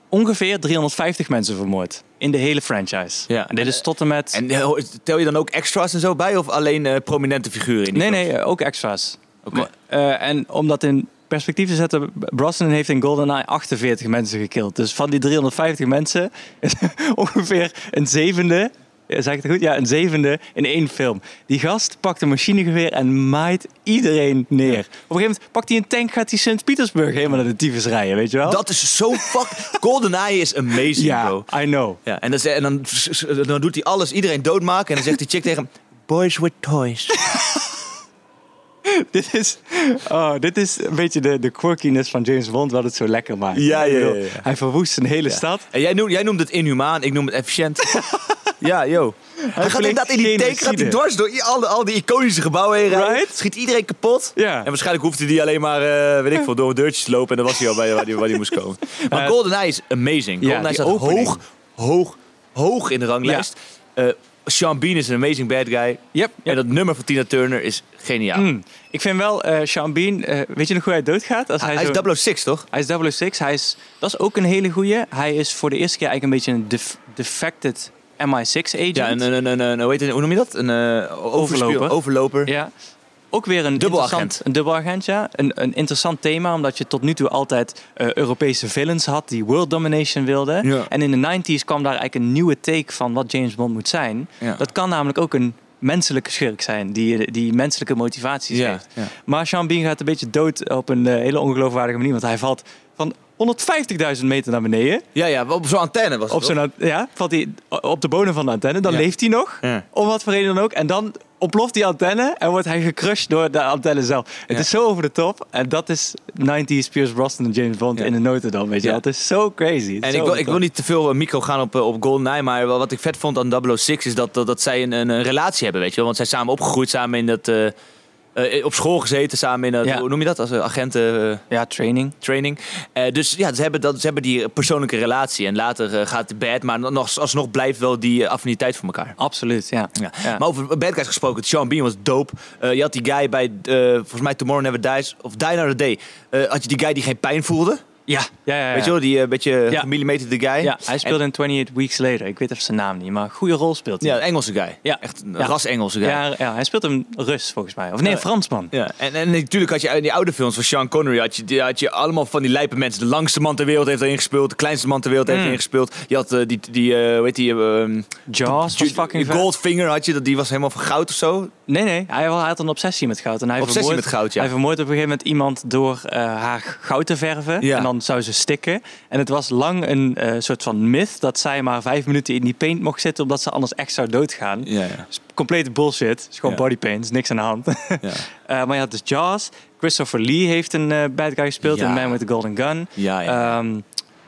Speaker 2: ongeveer 350 mensen vermoord. In de hele franchise.
Speaker 1: Ja.
Speaker 2: En dit is tot en met...
Speaker 1: En eh, ho- tel je dan ook extras en zo bij? Of alleen eh, prominente figuren? In die
Speaker 2: nee,
Speaker 1: film?
Speaker 2: nee, eh, ook extra's.
Speaker 1: Oké.
Speaker 2: Maar, eh, en om dat in perspectief te zetten, Brosnan heeft in GoldenEye 48 mensen gekild. Dus van die 350 mensen is (laughs) ongeveer een zevende, eh, zeg ik het goed? Ja, een zevende in één film. Die gast pakt een machinegeweer en maait iedereen neer. Op een gegeven moment pakt hij een tank, gaat hij Sint-Petersburg helemaal naar de tyfus rijden, weet je wel?
Speaker 1: Dat is zo
Speaker 2: (laughs)
Speaker 1: fuck. GoldenEye is amazing,
Speaker 2: ja,
Speaker 1: bro.
Speaker 2: I know. (laughs)
Speaker 1: Ja, en dan, ze- en dan, dan doet hij alles, iedereen doodmaken. En dan zegt die chick tegen hem: Boys with toys.
Speaker 2: dit, is, oh, dit is een beetje de, de quirkiness van James Bond, wat het zo lekker maakt.
Speaker 1: Ja, ja,
Speaker 2: Ik bedoel,
Speaker 1: ja, ja.
Speaker 2: Hij verwoest een hele stad.
Speaker 1: En jij, noemt, jij noemt het inhumaan, ik noem het (laughs) efficiënt. ja, yo. Hij, gaat
Speaker 2: pleegt
Speaker 1: inderdaad in die take,
Speaker 2: genocide.
Speaker 1: gaat hij dwars door i- al, die- al die iconische gebouwen heen rijden.
Speaker 2: Right?
Speaker 1: Schiet iedereen kapot.
Speaker 2: Ja.
Speaker 1: En waarschijnlijk hoefde hij alleen maar, eh, weet ik veel, door deurtjes te lopen. En dan was hij al bij waar hij, waar hij moest (laughs) komen. Maar
Speaker 2: Eh,
Speaker 1: GoldenEye is amazing.
Speaker 2: ja,
Speaker 1: GoldenEye
Speaker 2: die
Speaker 1: staat
Speaker 2: opening.
Speaker 1: hoog, hoog, hoog in de ranglijst. Eh, Sean Bean is een amazing bad guy.
Speaker 2: Yep,
Speaker 1: En dat nummer van Tina Turner is geniaal.
Speaker 2: Hmm. Ik vind wel, eh, Sean Bean, eh, weet je nog hoe hij doodgaat? Als hij,
Speaker 1: Hij
Speaker 2: zo-
Speaker 1: is 006, toch?
Speaker 2: hij is 006, hij is, dat is ook een hele goeie. Hij is voor de eerste keer eigenlijk een beetje een def- defected MI6-agent.
Speaker 1: Ja, eh, een, een, een, een- hoe, heet het- hoe noem je dat? Een eh, overspeel-
Speaker 2: Overloper.
Speaker 1: overloper.
Speaker 2: Ja. Ook weer een
Speaker 1: Dubbelagent.
Speaker 2: interessant, een dubbelagent, ja. Een, een interessant thema, omdat je tot nu toe altijd eh, Europese villains had die world domination wilden.
Speaker 1: Ja.
Speaker 2: En in de 90s kwam daar eigenlijk een nieuwe take van wat James Bond moet zijn.
Speaker 1: Ja.
Speaker 2: Dat kan namelijk ook een menselijke schurk zijn, die, die menselijke motivaties
Speaker 1: Ja,
Speaker 2: heeft.
Speaker 1: ja.
Speaker 2: Maar Sean Bean gaat een beetje dood op een eh, hele ongeloofwaardige manier, want hij valt van 150.000 meter naar beneden.
Speaker 1: Ja, ja, op zo'n antenne was het.
Speaker 2: Op,
Speaker 1: toch?
Speaker 2: zo'n, ant- ja, valt hij op de bonen van de antenne, dan
Speaker 1: Ja.
Speaker 2: leeft hij nog.
Speaker 1: Ja.
Speaker 2: Om wat voor reden dan ook. En dan ontploft die antenne en wordt hij gecrushed door de antenne zelf. Het
Speaker 1: Ja.
Speaker 2: is zo over de top. En dat is 90s Pierce Brosnan en James Bond
Speaker 1: Ja.
Speaker 2: in de notendam, weet je
Speaker 1: Ja.
Speaker 2: wel. Het is zo crazy. Het is
Speaker 1: En
Speaker 2: zo
Speaker 1: ik wil,
Speaker 2: over
Speaker 1: ik
Speaker 2: de
Speaker 1: wil
Speaker 2: top.
Speaker 1: niet te veel eh, micro gaan op, eh, op GoldenEye, maar wel wat ik vet vond aan 006 is dat, dat, dat zij een, een, een relatie hebben, weet je wel. Want zij zijn samen opgegroeid, samen in dat... eh, eh, op school gezeten, samen in dat...
Speaker 2: Ja.
Speaker 1: Hoe noem je dat? Als eh, agenten... eh,
Speaker 2: Ja, training.
Speaker 1: training. Eh, dus ja, ze hebben, dat, ze hebben die persoonlijke relatie. En later eh, gaat de bad, maar nog, alsnog blijft wel die eh, affiniteit voor elkaar.
Speaker 2: Absoluut, ja.
Speaker 1: Ja.
Speaker 2: Ja.
Speaker 1: Maar over bad guys gesproken, Sean Bean was dope. Eh, je had die guy bij, eh, volgens mij Tomorrow Never Dies, of Die Another Day. Eh, had je die guy die geen pijn voelde?
Speaker 2: Ja, ja, ja. ja.
Speaker 1: Weet je wel, die eh, beetje
Speaker 2: Ja.
Speaker 1: gemillimeterde guy.
Speaker 2: Ja, hij speelde in 28 Weeks Later. Ik weet even zijn naam niet, maar een goede rol speelt
Speaker 1: En,
Speaker 2: hij.
Speaker 1: ja, een Engelse guy.
Speaker 2: Ja.
Speaker 1: Echt een
Speaker 2: Ja.
Speaker 1: ras-Engelse guy. Ja.
Speaker 2: Ja, ja, hij speelt een Rus volgens mij. Of nee, een Fransman.
Speaker 1: en, en natuurlijk had je in die oude films van Sean Connery had je, die- had je allemaal van die lijpe mensen. De langste man ter wereld heeft erin gespeeld. De kleinste man ter wereld heeft erin gespeeld. Je had eh, die, die eh weet die, ehm,
Speaker 2: Mm. Jaws was
Speaker 1: Ju-
Speaker 2: fucking vet.
Speaker 1: Goldfinger had je, dat- die was helemaal van goud of zo.
Speaker 2: Nee, nee. Hij had hij had een obsessie met goud. En hij
Speaker 1: Obsessie
Speaker 2: vermoordt-
Speaker 1: met goud, ja.
Speaker 2: Hij vermoordt op een gegeven moment iemand door eh, haar goud te verven.
Speaker 1: Ja.
Speaker 2: En dan zou ze stikken. En het was lang een eh, soort van myth dat zij maar vijf minuten in die paint mocht zitten. Omdat ze anders echt zou doodgaan.
Speaker 1: Ja, ja.
Speaker 2: Dus complete bullshit. Is gewoon
Speaker 1: Ja.
Speaker 2: body paint. Is niks aan de hand. (laughs) Eh, maar je had dus Jaws. Christopher Lee heeft een eh, bad guy gespeeld.
Speaker 1: Ja.
Speaker 2: In Man with the Golden Gun.
Speaker 1: Ja, ja.
Speaker 2: Ehm,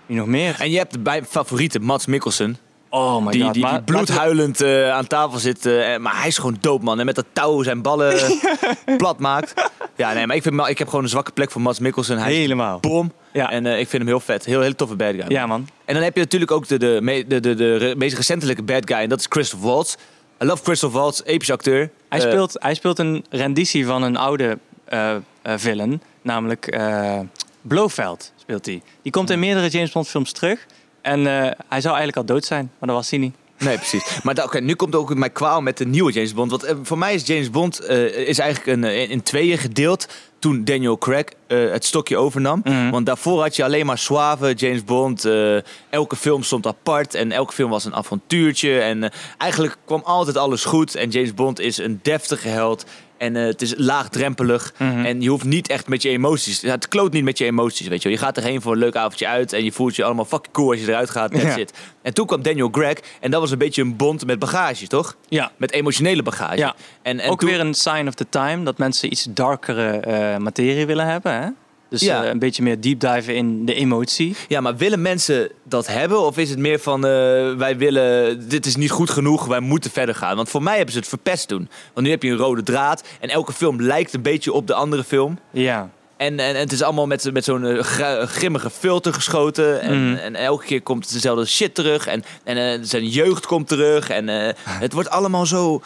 Speaker 2: wie nog meer?
Speaker 1: Eh, En je hebt bij favoriete Mats Mikkelsen,
Speaker 2: oh my
Speaker 1: die,
Speaker 2: god.
Speaker 1: die, die
Speaker 2: maar-
Speaker 1: bloedhuilend eh, aan tafel zit. eh, en- maar hij is gewoon dood, man. En met dat touw zijn ballen
Speaker 2: (laughs)
Speaker 1: eh, plat maakt. Ja, nee, maar ik, vind, ik heb gewoon een zwakke plek voor Mats Mikkelsen. Hij is
Speaker 2: Helemaal.
Speaker 1: bom.
Speaker 2: Ja.
Speaker 1: En eh, ik vind hem heel vet. Heel, hele toffe bad guy.
Speaker 2: Ja, man.
Speaker 1: En dan heb je natuurlijk ook de, de, me- de, de, de, re- meest recentelijke bad guy. En dat is Christoph Waltz. I love Christoph Waltz, epische acteur.
Speaker 2: Hij,
Speaker 1: Eh,
Speaker 2: speelt, hij speelt een renditie van een oude eh eh, villain, namelijk eh Blofeld speelt hij. Die komt
Speaker 1: Hmm.
Speaker 2: in meerdere James Bond films terug. En eh, hij zou eigenlijk al dood zijn, maar dat was hij niet.
Speaker 1: Nee, precies. Maar da- oké, nu komt ook mijn kwaal met de nieuwe James Bond. Want eh, voor mij is James Bond eh, is eigenlijk een, eh, in tweeën gedeeld toen Daniel Craig eh, het stokje overnam. Want daarvoor had je alleen maar suave James Bond. eh, elke film stond apart en elke film was een avontuurtje. En eh, eigenlijk kwam altijd alles goed. En James Bond is een deftige held. En eh, het is laagdrempelig. En je hoeft niet echt met je emoties. ja, het kloot niet met je emoties, weet je wel. Je gaat erheen voor een leuk avondje uit. En je voelt je allemaal fucking cool als je eruit gaat. That's
Speaker 2: Ja.
Speaker 1: it. En toen kwam Daniel Greg. En dat was een beetje een bond met bagage, toch?
Speaker 2: Ja.
Speaker 1: Met emotionele bagage.
Speaker 2: Ja.
Speaker 1: En, en
Speaker 2: Ook
Speaker 1: toen-
Speaker 2: weer een sign of the time dat mensen iets darkere eh, materie willen hebben. Hè? Dus
Speaker 1: Ja.
Speaker 2: eh, een beetje meer deep diven in de emotie.
Speaker 1: Ja, maar willen mensen dat hebben? Of is het meer van, eh, wij willen, dit is niet goed genoeg, wij moeten verder gaan? Want voor mij hebben ze het verpest toen. Want nu heb je een rode draad. En elke film lijkt een beetje op de andere film.
Speaker 2: Ja.
Speaker 1: En, en, en het is allemaal met, met zo'n eh, gru- grimmige filter geschoten. En, en elke keer komt dezelfde shit terug. En, en eh, zijn jeugd komt terug. En eh, het wordt allemaal zo,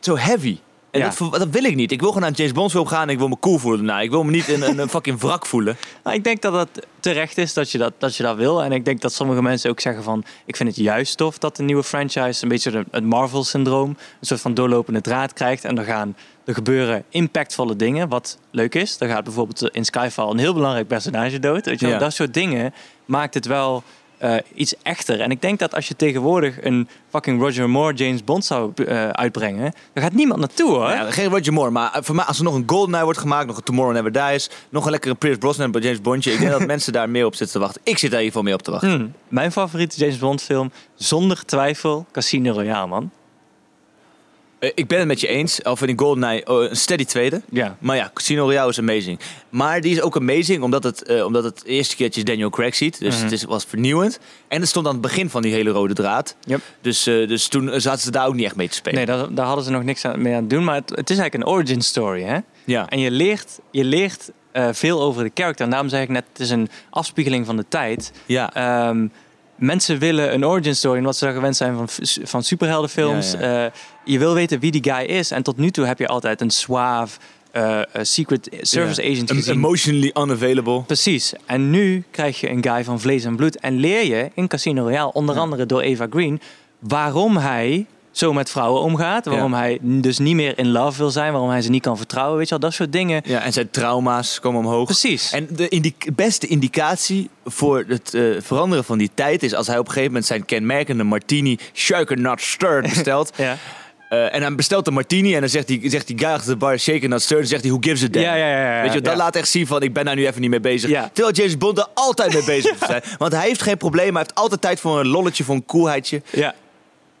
Speaker 1: zo heavy. En
Speaker 2: Ja.
Speaker 1: dat, ver- dat wil ik niet. Ik wil gewoon naar een James Bond film gaan en ik wil me cool voelen. Nou, ik wil me niet in een, een fucking wrak voelen.
Speaker 2: Nou, ik denk dat dat terecht is dat je dat, dat je dat wil. En ik denk dat sommige mensen ook zeggen van... ik vind het juist tof dat de nieuwe franchise een beetje de- het Marvel-syndroom... een soort van doorlopende draad krijgt. En er, gaan, er gebeuren impactvolle dingen, wat leuk is. Er gaat bijvoorbeeld eh, in Skyfall een heel belangrijk personage dood. Weet je wel.
Speaker 1: Ja.
Speaker 2: Dat soort dingen maakt het wel... eh, iets echter. En ik denk dat als je tegenwoordig een fucking Roger Moore James Bond zou eh, uitbrengen, daar gaat niemand naartoe hoor.
Speaker 1: Nou ja, geen Roger Moore, maar eh, voor mij, als er nog een GoldenEye wordt gemaakt, nog een Tomorrow Never Dies, nog een lekkere Pierce Brosnan en James Bondje. Ik denk dat mensen daar meer op zitten te wachten. Ik zit daar in ieder geval meer op te wachten.
Speaker 2: Hm, mijn favoriete James Bond film, zonder twijfel, Casino Royale man.
Speaker 1: Eh, ik ben het met je eens. Al vind ik GoldenEye eh, een steady tweede.
Speaker 2: Ja.
Speaker 1: Maar ja, Casino Royale is amazing. Maar die is ook amazing omdat het, eh, omdat het de eerste keertje Daniel Craig ziet. Dus
Speaker 2: Mhm.
Speaker 1: het is, was vernieuwend. En het stond aan het begin van die hele rode draad.
Speaker 2: Yep.
Speaker 1: Dus, eh, dus toen zaten ze daar ook niet echt mee te spelen.
Speaker 2: Nee, daar, daar hadden ze nog niks aan, mee aan het doen. Maar het, het is eigenlijk een origin story, hè?
Speaker 1: Ja.
Speaker 2: En je leert, je leert eh, veel over de character. En daarom zeg ik net, het is een afspiegeling van de tijd.
Speaker 1: Ja.
Speaker 2: Ehm, mensen willen een origin story, omdat ze gewend zijn van, van superheldenfilms.
Speaker 1: Ja,
Speaker 2: Eh, je wil weten wie die guy is. En tot nu toe heb je altijd een suave eh, eh, secret service
Speaker 1: Ja.
Speaker 2: agent
Speaker 1: Em-
Speaker 2: gezien.
Speaker 1: Emotionally unavailable.
Speaker 2: Precies. En nu krijg je een guy van vlees en bloed. En leer je in Casino Royale, onder andere door Eva Green, waarom hij zo met vrouwen omgaat. Waarom
Speaker 1: Ja.
Speaker 2: hij n- dus niet meer in love wil zijn. Waarom hij ze niet kan vertrouwen. Weet je wel, dat soort dingen.
Speaker 1: Ja, en zijn trauma's komen omhoog.
Speaker 2: Precies.
Speaker 1: En de indi- beste indicatie voor het eh, veranderen van die tijd is als hij op een gegeven moment zijn kenmerkende martini shaken not
Speaker 2: (laughs)
Speaker 1: stirred bestelt.
Speaker 2: Ja.
Speaker 1: Eh, en hij bestelt een martini en dan zegt die, zegt die guy achter de bar shaken not stirred. Dan zegt hij who gives a damn.
Speaker 2: Ja, ja, ja, ja, ja.
Speaker 1: Weet je, dat
Speaker 2: Ja.
Speaker 1: laat echt zien van ik ben daar nu even niet mee bezig.
Speaker 2: Ja.
Speaker 1: Terwijl James Bond er
Speaker 2: (laughs)
Speaker 1: altijd mee bezig moet zijn. Want hij heeft geen probleem, hij heeft altijd tijd voor een lolletje, voor een koelheidje.
Speaker 2: ja.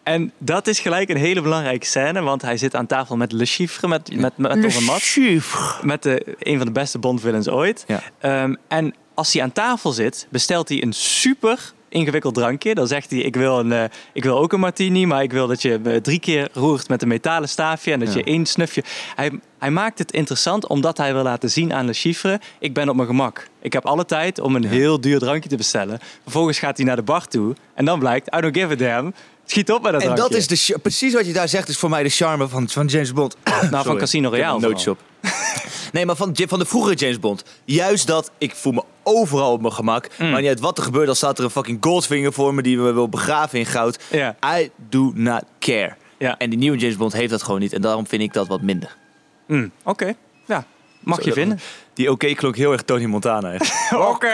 Speaker 2: En dat is gelijk een hele belangrijke scène, want hij zit aan tafel met Le Chiffre, met, met, met onze Mats. Met de, een van de beste Bond-villains ooit.
Speaker 1: Ja.
Speaker 2: Ehm, en als hij aan tafel zit, bestelt hij een super ingewikkeld drankje. Dan zegt hij, ik wil, een, eh, ik wil ook een martini, maar ik wil dat je eh, drie keer roert met een metalen staafje en dat je één snufje... Hij, hij maakt het interessant omdat hij wil laten zien aan Le Chiffre, ik ben op mijn gemak. Ik heb alle tijd om een heel duur drankje te bestellen. Vervolgens gaat hij naar de bar toe en dan blijkt, I don't give a damn, schiet op met dat
Speaker 1: En
Speaker 2: drankje.
Speaker 1: dat is de, ch- precies wat je daar zegt, is voor mij de charme van, van James Bond.
Speaker 2: (coughs) Nou, van
Speaker 1: Sorry.
Speaker 2: Casino Royale.
Speaker 1: Nootjes
Speaker 2: vooral.
Speaker 1: op. (laughs) Nee, maar van, Ja- van de vroegere James Bond. Juist dat, ik voel me overal op mijn gemak.
Speaker 2: Mm.
Speaker 1: Maar niet uit wat er gebeurt, dan staat er een fucking Goldfinger voor me... die me wil begraven in goud.
Speaker 2: Ja.
Speaker 1: I do not care.
Speaker 2: Ja.
Speaker 1: En die nieuwe James Bond heeft dat gewoon niet. En daarom vind ik dat wat minder.
Speaker 2: Mm, Oké, ja. Mag je
Speaker 1: dat-
Speaker 2: vinden.
Speaker 1: Die oké klonk heel erg Tony Montana.
Speaker 2: (laughs)
Speaker 1: hè.
Speaker 2: Oké.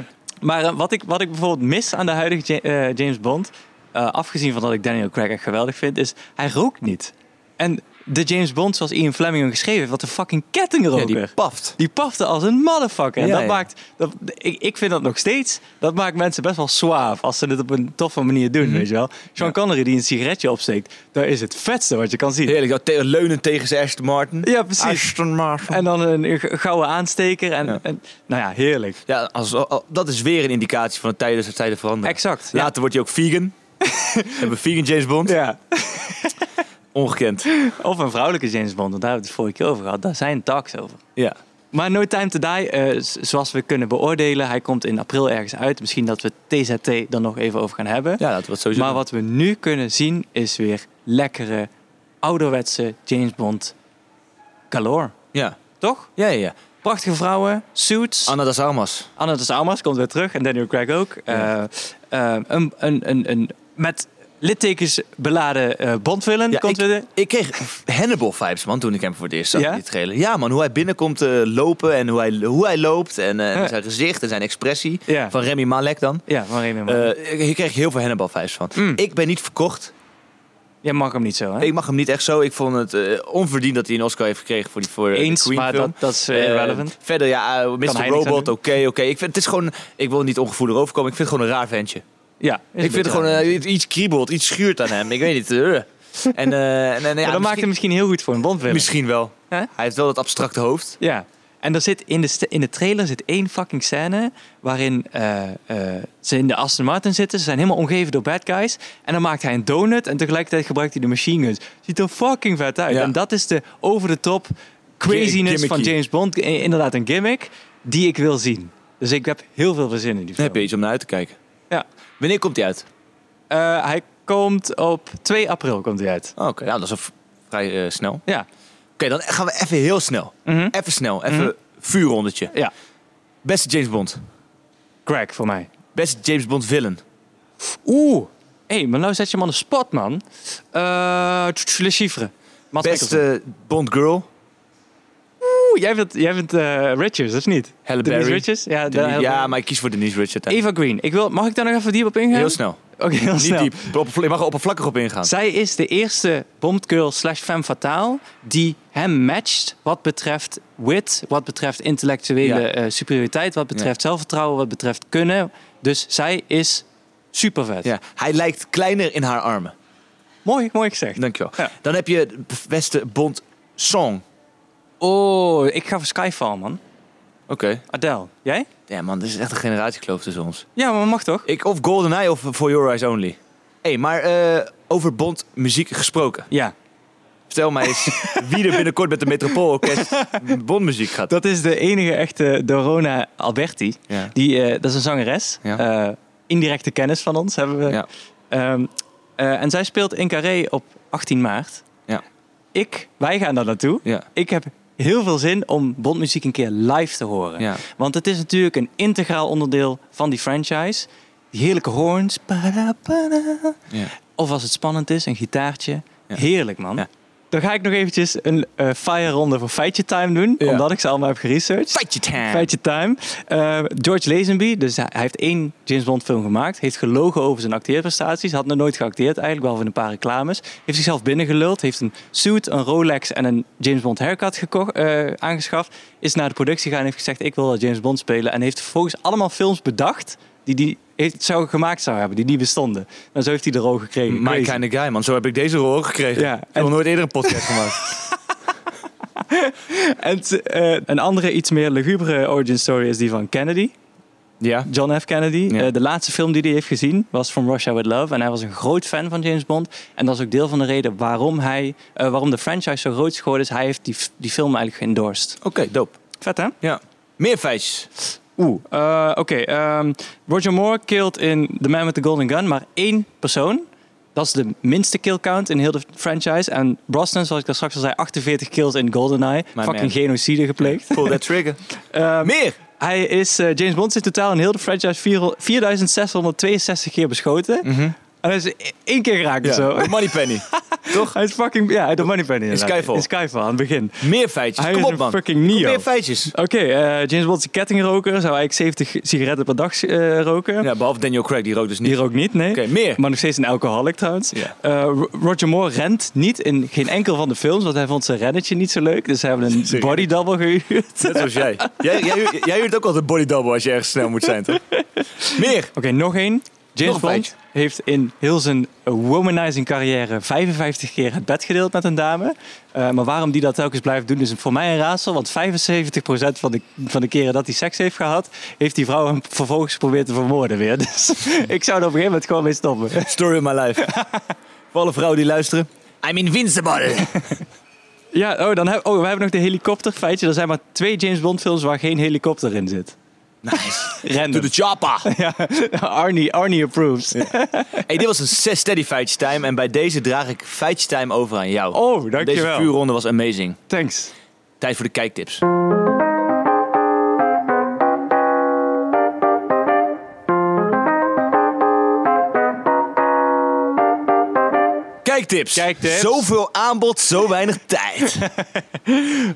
Speaker 2: (laughs) maar eh, wat, ik, wat ik bijvoorbeeld mis aan de huidige Ja- eh, James Bond, eh, afgezien van dat ik Daniel Craig echt geweldig vind, is hij rookt niet. En de James Bond zoals Ian Fleming hem geschreven heeft, wat een fucking kettingroker.
Speaker 1: ja, die paft.
Speaker 2: Die pafte als een motherfucker. En
Speaker 1: Ja,
Speaker 2: dat
Speaker 1: ja.
Speaker 2: maakt, dat, ik, ik vind dat nog steeds, dat maakt mensen best wel suave als ze dit op een toffe manier
Speaker 1: Mhm.
Speaker 2: doen, weet je wel. Sean Connery die een sigaretje opsteekt, dat is het vetste wat je kan zien.
Speaker 1: Heerlijk, dat te- leunen tegen zijn Aston Martin.
Speaker 2: Ja, precies.
Speaker 1: Aston Martin.
Speaker 2: En dan een g- gouden aansteker en,
Speaker 1: Ja.
Speaker 2: en nou ja, heerlijk.
Speaker 1: Ja, als, al- dat is weer een indicatie van de tijden, de tijden veranderen.
Speaker 2: Exact, ja.
Speaker 1: Later wordt hij ook vegan.
Speaker 2: (laughs)
Speaker 1: Hebben we vegan James Bond?
Speaker 2: Ja.
Speaker 1: Ongekend.
Speaker 2: Of een vrouwelijke James Bond, want daar hebben we het vorige keer over gehad. Daar zijn talks over.
Speaker 1: Ja.
Speaker 2: Maar No Time to Die, eh, z- zoals we kunnen beoordelen, hij komt in april ergens uit. Misschien dat we TZT dan nog even over gaan hebben.
Speaker 1: Ja, dat wordt sowieso.
Speaker 2: maar wat we nu kunnen zien is weer lekkere, ouderwetse James Bond galore.
Speaker 1: Ja.
Speaker 2: Toch?
Speaker 1: Ja, ja, ja.
Speaker 2: Prachtige vrouwen, suits.
Speaker 1: Anna das Armas.
Speaker 2: Anna de Almas komt weer terug en Daniel Craig ook.
Speaker 1: Ja.
Speaker 2: Eh, eh, een, een, een, een met littekens beladen eh Bond-villain
Speaker 1: Ja,
Speaker 2: komt
Speaker 1: ik,
Speaker 2: weer.
Speaker 1: ik kreeg Hannibal-vibes, man, toen ik hem voor het eerst zag
Speaker 2: Ja?
Speaker 1: in die trailer. Ja, man, hoe hij binnenkomt eh, lopen en hoe hij, hoe hij loopt en, eh, en
Speaker 2: Ja.
Speaker 1: zijn gezicht en zijn expressie.
Speaker 2: Ja.
Speaker 1: Van Remy Malek dan.
Speaker 2: Ja, Mm. maar even.
Speaker 1: Eh ik, ik kreeg heel veel Hannibal-vibes van. Ik ben niet verkocht.
Speaker 2: Jij mag hem niet zo, hè?
Speaker 1: Ik mag hem niet echt zo. Ik vond het eh, onverdiend dat hij een Oscar heeft gekregen voor die voor eh, de
Speaker 2: Eens,
Speaker 1: Queen
Speaker 2: maar
Speaker 1: film.
Speaker 2: dat- dat is, eh,
Speaker 1: Eh,
Speaker 2: irrelevant.
Speaker 1: verder, ja, eh,
Speaker 2: hij
Speaker 1: Mr.
Speaker 2: niks aan doen.
Speaker 1: Robot, oké, oké. Ik vind Het is gewoon, ik wil niet ongevoelig overkomen. Ik vind het gewoon een raar ventje.
Speaker 2: Ja,
Speaker 1: ik vind het gewoon eh, iets- iets kriebelt, iets schuurt aan hem. Ik weet niet. eh. En, eh, en, en, ja,
Speaker 2: dat maakt hem misschien heel goed voor een Bondfilm.
Speaker 1: misschien wel.
Speaker 2: Hè?
Speaker 1: Hij heeft wel dat abstracte hoofd.
Speaker 2: Ja. En er zit in, de st- in de trailer zit één fucking scène waarin eh, eh, ze in de Aston Martin zitten. Ze zijn helemaal omgeven door bad guys. En dan maakt hij een donut en tegelijkertijd gebruikt hij de machine guns. Ziet er fucking vet uit.
Speaker 1: Ja.
Speaker 2: En dat is de over de top craziness
Speaker 1: Gimmicky.
Speaker 2: van James Bond. I- Inderdaad een gimmick die ik wil zien. Dus ik heb heel veel zin in die
Speaker 1: Dan
Speaker 2: film.
Speaker 1: heb je iets om naar uit te kijken.
Speaker 2: Ja.
Speaker 1: Wanneer komt hij uit?
Speaker 2: Eh, hij komt op 2 april komt hij uit.
Speaker 1: Oh, Oké, nou, dat is v- vrij eh, snel. Mhm. Oké,
Speaker 2: Ja.
Speaker 1: dan gaan we even heel snel. Even snel, even vuurrondetje.
Speaker 2: Ja.
Speaker 1: Beste James Bond.
Speaker 2: Craig voor mij.
Speaker 1: Beste James Bond villain.
Speaker 2: Oeh. Hé, maar nou zet je hem aan de spot, man. Eh tch, Le Chiffre. Mads Mikkelsen.
Speaker 1: Beste Bond girl.
Speaker 2: Oeh, jij bent, jij bent eh, Richards, of niet?
Speaker 1: Halle
Speaker 2: Denise
Speaker 1: Berry.
Speaker 2: Richards? Ja, de-
Speaker 1: Denise-
Speaker 2: Halle
Speaker 1: ja,
Speaker 2: Berry.
Speaker 1: maar ik kies voor Denise Richard.
Speaker 2: Eva Green. Ik wil, mag ik daar nog even diep op ingaan?
Speaker 1: Heel snel.
Speaker 2: Oké, heel
Speaker 1: Niet
Speaker 2: snel.
Speaker 1: diep. Oppervla- Je mag er oppervlakkig op ingaan.
Speaker 2: Zij is de eerste Bondgirl slash femme fatale die hem matcht wat betreft wit, wat betreft intellectuele
Speaker 1: Ja.
Speaker 2: eh, superioriteit, wat betreft
Speaker 1: Ja.
Speaker 2: zelfvertrouwen, wat betreft kunnen. Dus zij is super vet.
Speaker 1: Ja, hij lijkt kleiner in haar armen.
Speaker 2: Mooi, mooi gezegd.
Speaker 1: Dankjewel.
Speaker 2: Ja.
Speaker 1: Dan heb je de beste Bond song. Nou-
Speaker 2: Oh, ik ga voor Skyfall, man.
Speaker 1: Oké.
Speaker 2: Adele, jij?
Speaker 1: Ja man, dit is echt een generatiekloof tussen ons.
Speaker 2: Ja, maar mag toch?
Speaker 1: Ik of GoldenEye of For Your Eyes Only. Hé, hey, maar eh, over Bond muziek gesproken.
Speaker 2: Ja.
Speaker 1: Vertel mij (laughs) eens wie er binnenkort met de Metropoolorkest Bond muziek gaat.
Speaker 2: Dat is de enige echte Dorona Alberti.
Speaker 1: Ja.
Speaker 2: Die, eh, dat is een zangeres.
Speaker 1: Ja.
Speaker 2: Eh, indirecte kennis van ons hebben we.
Speaker 1: Ja.
Speaker 2: Ehm, eh, en zij speelt in Carré op 18 maart.
Speaker 1: Ja.
Speaker 2: Ik, wij gaan daar naartoe.
Speaker 1: Ja.
Speaker 2: Ik heb heel veel zin om Bondmuziek een keer live te horen.
Speaker 1: Ja.
Speaker 2: Want het is natuurlijk een integraal onderdeel van die franchise. Die heerlijke horns. Para, para.
Speaker 1: Ja.
Speaker 2: Of als het spannend is, een gitaartje. Heerlijk, man.
Speaker 1: Ja.
Speaker 2: Dan ga ik nog eventjes een eh fire ronde voor Feitje Time doen.
Speaker 1: Ja.
Speaker 2: Omdat ik ze allemaal heb geresearched.
Speaker 1: Feitje time.
Speaker 2: Feitje Time. Eh, George Lazenby, dus hij hij heeft één James Bond film gemaakt. Heeft gelogen over zijn acteerprestaties. Had nog nooit geacteerd eigenlijk, behalve in een paar reclames. Heeft zichzelf binnengeluld. Heeft een suit, een Rolex en een James Bond haircut gekocht, eh, aangeschaft. Is naar de productie gegaan en heeft gezegd, ik wil wel James Bond spelen. En heeft vervolgens allemaal films bedacht die die heeft, zou gemaakt zou hebben, die niet bestonden. En zo heeft hij de rol gekregen.
Speaker 1: My
Speaker 2: Crazy.
Speaker 1: kind of guy, man. Zo heb ik deze rol ook gekregen.
Speaker 2: Ja,
Speaker 1: Ik heb
Speaker 2: en-
Speaker 1: nog nooit eerder een podcast gemaakt.
Speaker 2: En eh, een andere, iets meer lugubere origin story is die van Kennedy.
Speaker 1: Ja.
Speaker 2: John F. Kennedy.
Speaker 1: Ja.
Speaker 2: Eh, de laatste film die hij heeft gezien was From Russia With Love. En hij was een groot fan van James Bond. En dat is ook deel van de reden waarom, hij, eh, waarom de franchise zo groot is geworden. Is hij heeft die, f- die film eigenlijk geëndorsed.
Speaker 1: Oké, dope.
Speaker 2: Vet hè?
Speaker 1: Ja. Meer feitjes.
Speaker 2: Oeh, eh, oké. ehm, Roger Moore killed in The Man with the Golden Gun, maar één persoon. Dat is de minste kill count in heel de franchise. En Brosnan, zoals ik daar straks al zei, 48 kills in GoldenEye.
Speaker 1: man.
Speaker 2: Fucking genocide gepleegd.
Speaker 1: Pull that (laughs) trigger. Meer.
Speaker 2: Hij is, eh, James Bond is in totaal in heel de franchise 4 4662 keer beschoten. En hij is e- één keer geraakt of zo.
Speaker 1: Mhm. Ja. Money
Speaker 2: (laughs)
Speaker 1: Penny.
Speaker 2: Hij is fucking... Ja, de Moneypenny inderdaad.
Speaker 1: Skyfall.
Speaker 2: In Skyfall, aan het begin.
Speaker 1: Meer feitjes.
Speaker 2: Hij
Speaker 1: Kom
Speaker 2: is
Speaker 1: op,
Speaker 2: een
Speaker 1: man.
Speaker 2: fucking
Speaker 1: Kom,
Speaker 2: Neo.
Speaker 1: Meer
Speaker 2: (laughs)
Speaker 1: feitjes.
Speaker 2: Oké, eh, James Bond is een kettingroker. Zou eigenlijk 70 sigaretten per dag eh, roken.
Speaker 1: Ja, behalve Daniel Craig, die rookt dus niet.
Speaker 2: Hier ook niet, nee.
Speaker 1: Oké, meer.
Speaker 2: Maar nog steeds een alcoholic trouwens.
Speaker 1: Ja.
Speaker 2: Eh, Ro- Roger Moore rent niet in geen enkel van de films, want hij vond zijn rennetje niet zo leuk. Dus ze hebben
Speaker 1: (laughs)
Speaker 2: een
Speaker 1: Serieus?
Speaker 2: body double gehuurd.
Speaker 1: Net zoals
Speaker 2: (laughs)
Speaker 1: jij. Jij, jij, huurt- jij huurt ook altijd een body double als je ergens snel moet zijn,
Speaker 2: (laughs)
Speaker 1: toch? Meer.
Speaker 2: Oké, nog één. James
Speaker 1: Nog een
Speaker 2: Bond
Speaker 1: feitje.
Speaker 2: heeft in heel zijn womanizing carrière 55 keer het bed gedeeld met een dame. Eh, maar waarom die dat telkens blijft doen is voor mij een raadsel. Want 75% van de, van de keren dat hij seks heeft gehad, heeft die vrouw hem vervolgens geprobeerd te vermoorden weer. (laughs) Dus ik zou er op een gegeven moment gewoon mee stoppen.
Speaker 1: Story of my
Speaker 2: (laughs)
Speaker 1: life. Voor alle vrouwen die luisteren. I'm invincible.
Speaker 2: Ja, oh, dan heb, oh, we hebben nog de helikopter feitje. Er zijn maar twee James Bond films waar geen helikopter in zit.
Speaker 1: Nice. (laughs) To
Speaker 2: (laughs) Random.
Speaker 1: the chopper.
Speaker 2: (laughs) Arnie, Arnie approves.
Speaker 1: Hey, dit was een 6 steady feitjes time. En bij deze draag ik feitjes time over aan jou.
Speaker 2: Oh, dankjewel.
Speaker 1: Deze vuurronde was amazing.
Speaker 2: Thanks.
Speaker 1: Tijd voor de kijktips. Kijktips.
Speaker 2: Kijktips.
Speaker 1: Zoveel aanbod, zo weinig tijd. (laughs)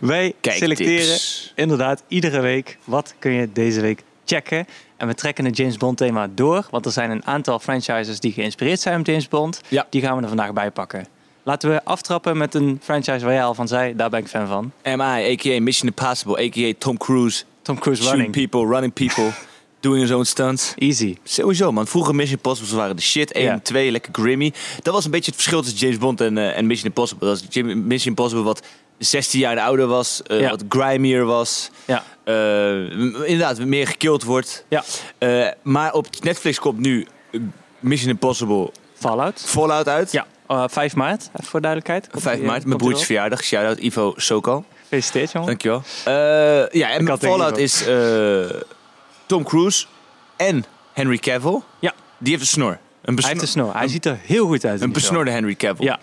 Speaker 2: Wij
Speaker 1: Kijktips.
Speaker 2: selecteren inderdaad iedere week wat kun je deze week checken. En we trekken het James Bond thema door, want er zijn een aantal franchises die geïnspireerd zijn op James Bond.
Speaker 1: Ja.
Speaker 2: Die gaan we er vandaag bij pakken. Laten we aftrappen met een franchise waar jij al van zei, daar ben ik fan van.
Speaker 1: MI, a.k.a. Mission Impossible, a.k.a. Tom Cruise.
Speaker 2: Tom Cruise
Speaker 1: Shooting
Speaker 2: Running.
Speaker 1: people, running people, doing his own stunts.
Speaker 2: Easy.
Speaker 1: Sowieso, man. Vroeger Mission Impossible waren de shit. 1
Speaker 2: Ja.
Speaker 1: en 2, lekker grimmy. Dat was een beetje het verschil tussen James Bond en, eh, en Mission Impossible. Dat was Jim- Mission Impossible wat 16 jaar ouder was, eh,
Speaker 2: Ja.
Speaker 1: wat grimier was.
Speaker 2: Ja.
Speaker 1: eh, m- inderdaad, meer gekild wordt.
Speaker 2: Ja.
Speaker 1: Eh, maar op Netflix komt nu eh, Mission Impossible
Speaker 2: Fallout.
Speaker 1: Fallout uit.
Speaker 2: Ja. eh, 5 maart, even voor duidelijkheid. Komt
Speaker 1: 5
Speaker 2: die, eh,
Speaker 1: maart,
Speaker 2: komt die
Speaker 1: mijn broertjes
Speaker 2: wel.
Speaker 1: verjaardag. Shout-out Ivo Sokal.
Speaker 2: Gefeliciteerd, jongen.
Speaker 1: Dankjewel. Eh ja,
Speaker 2: Ik
Speaker 1: en
Speaker 2: had
Speaker 1: Fallout
Speaker 2: er
Speaker 1: is eh, Tom Cruise en Henry Cavill.
Speaker 2: Ja,
Speaker 1: Die heeft een snor. Een
Speaker 2: hij heeft een snor. Hij ziet er heel goed uit. in
Speaker 1: Een
Speaker 2: die film.
Speaker 1: besnorde Henry Cavill.
Speaker 2: Ja.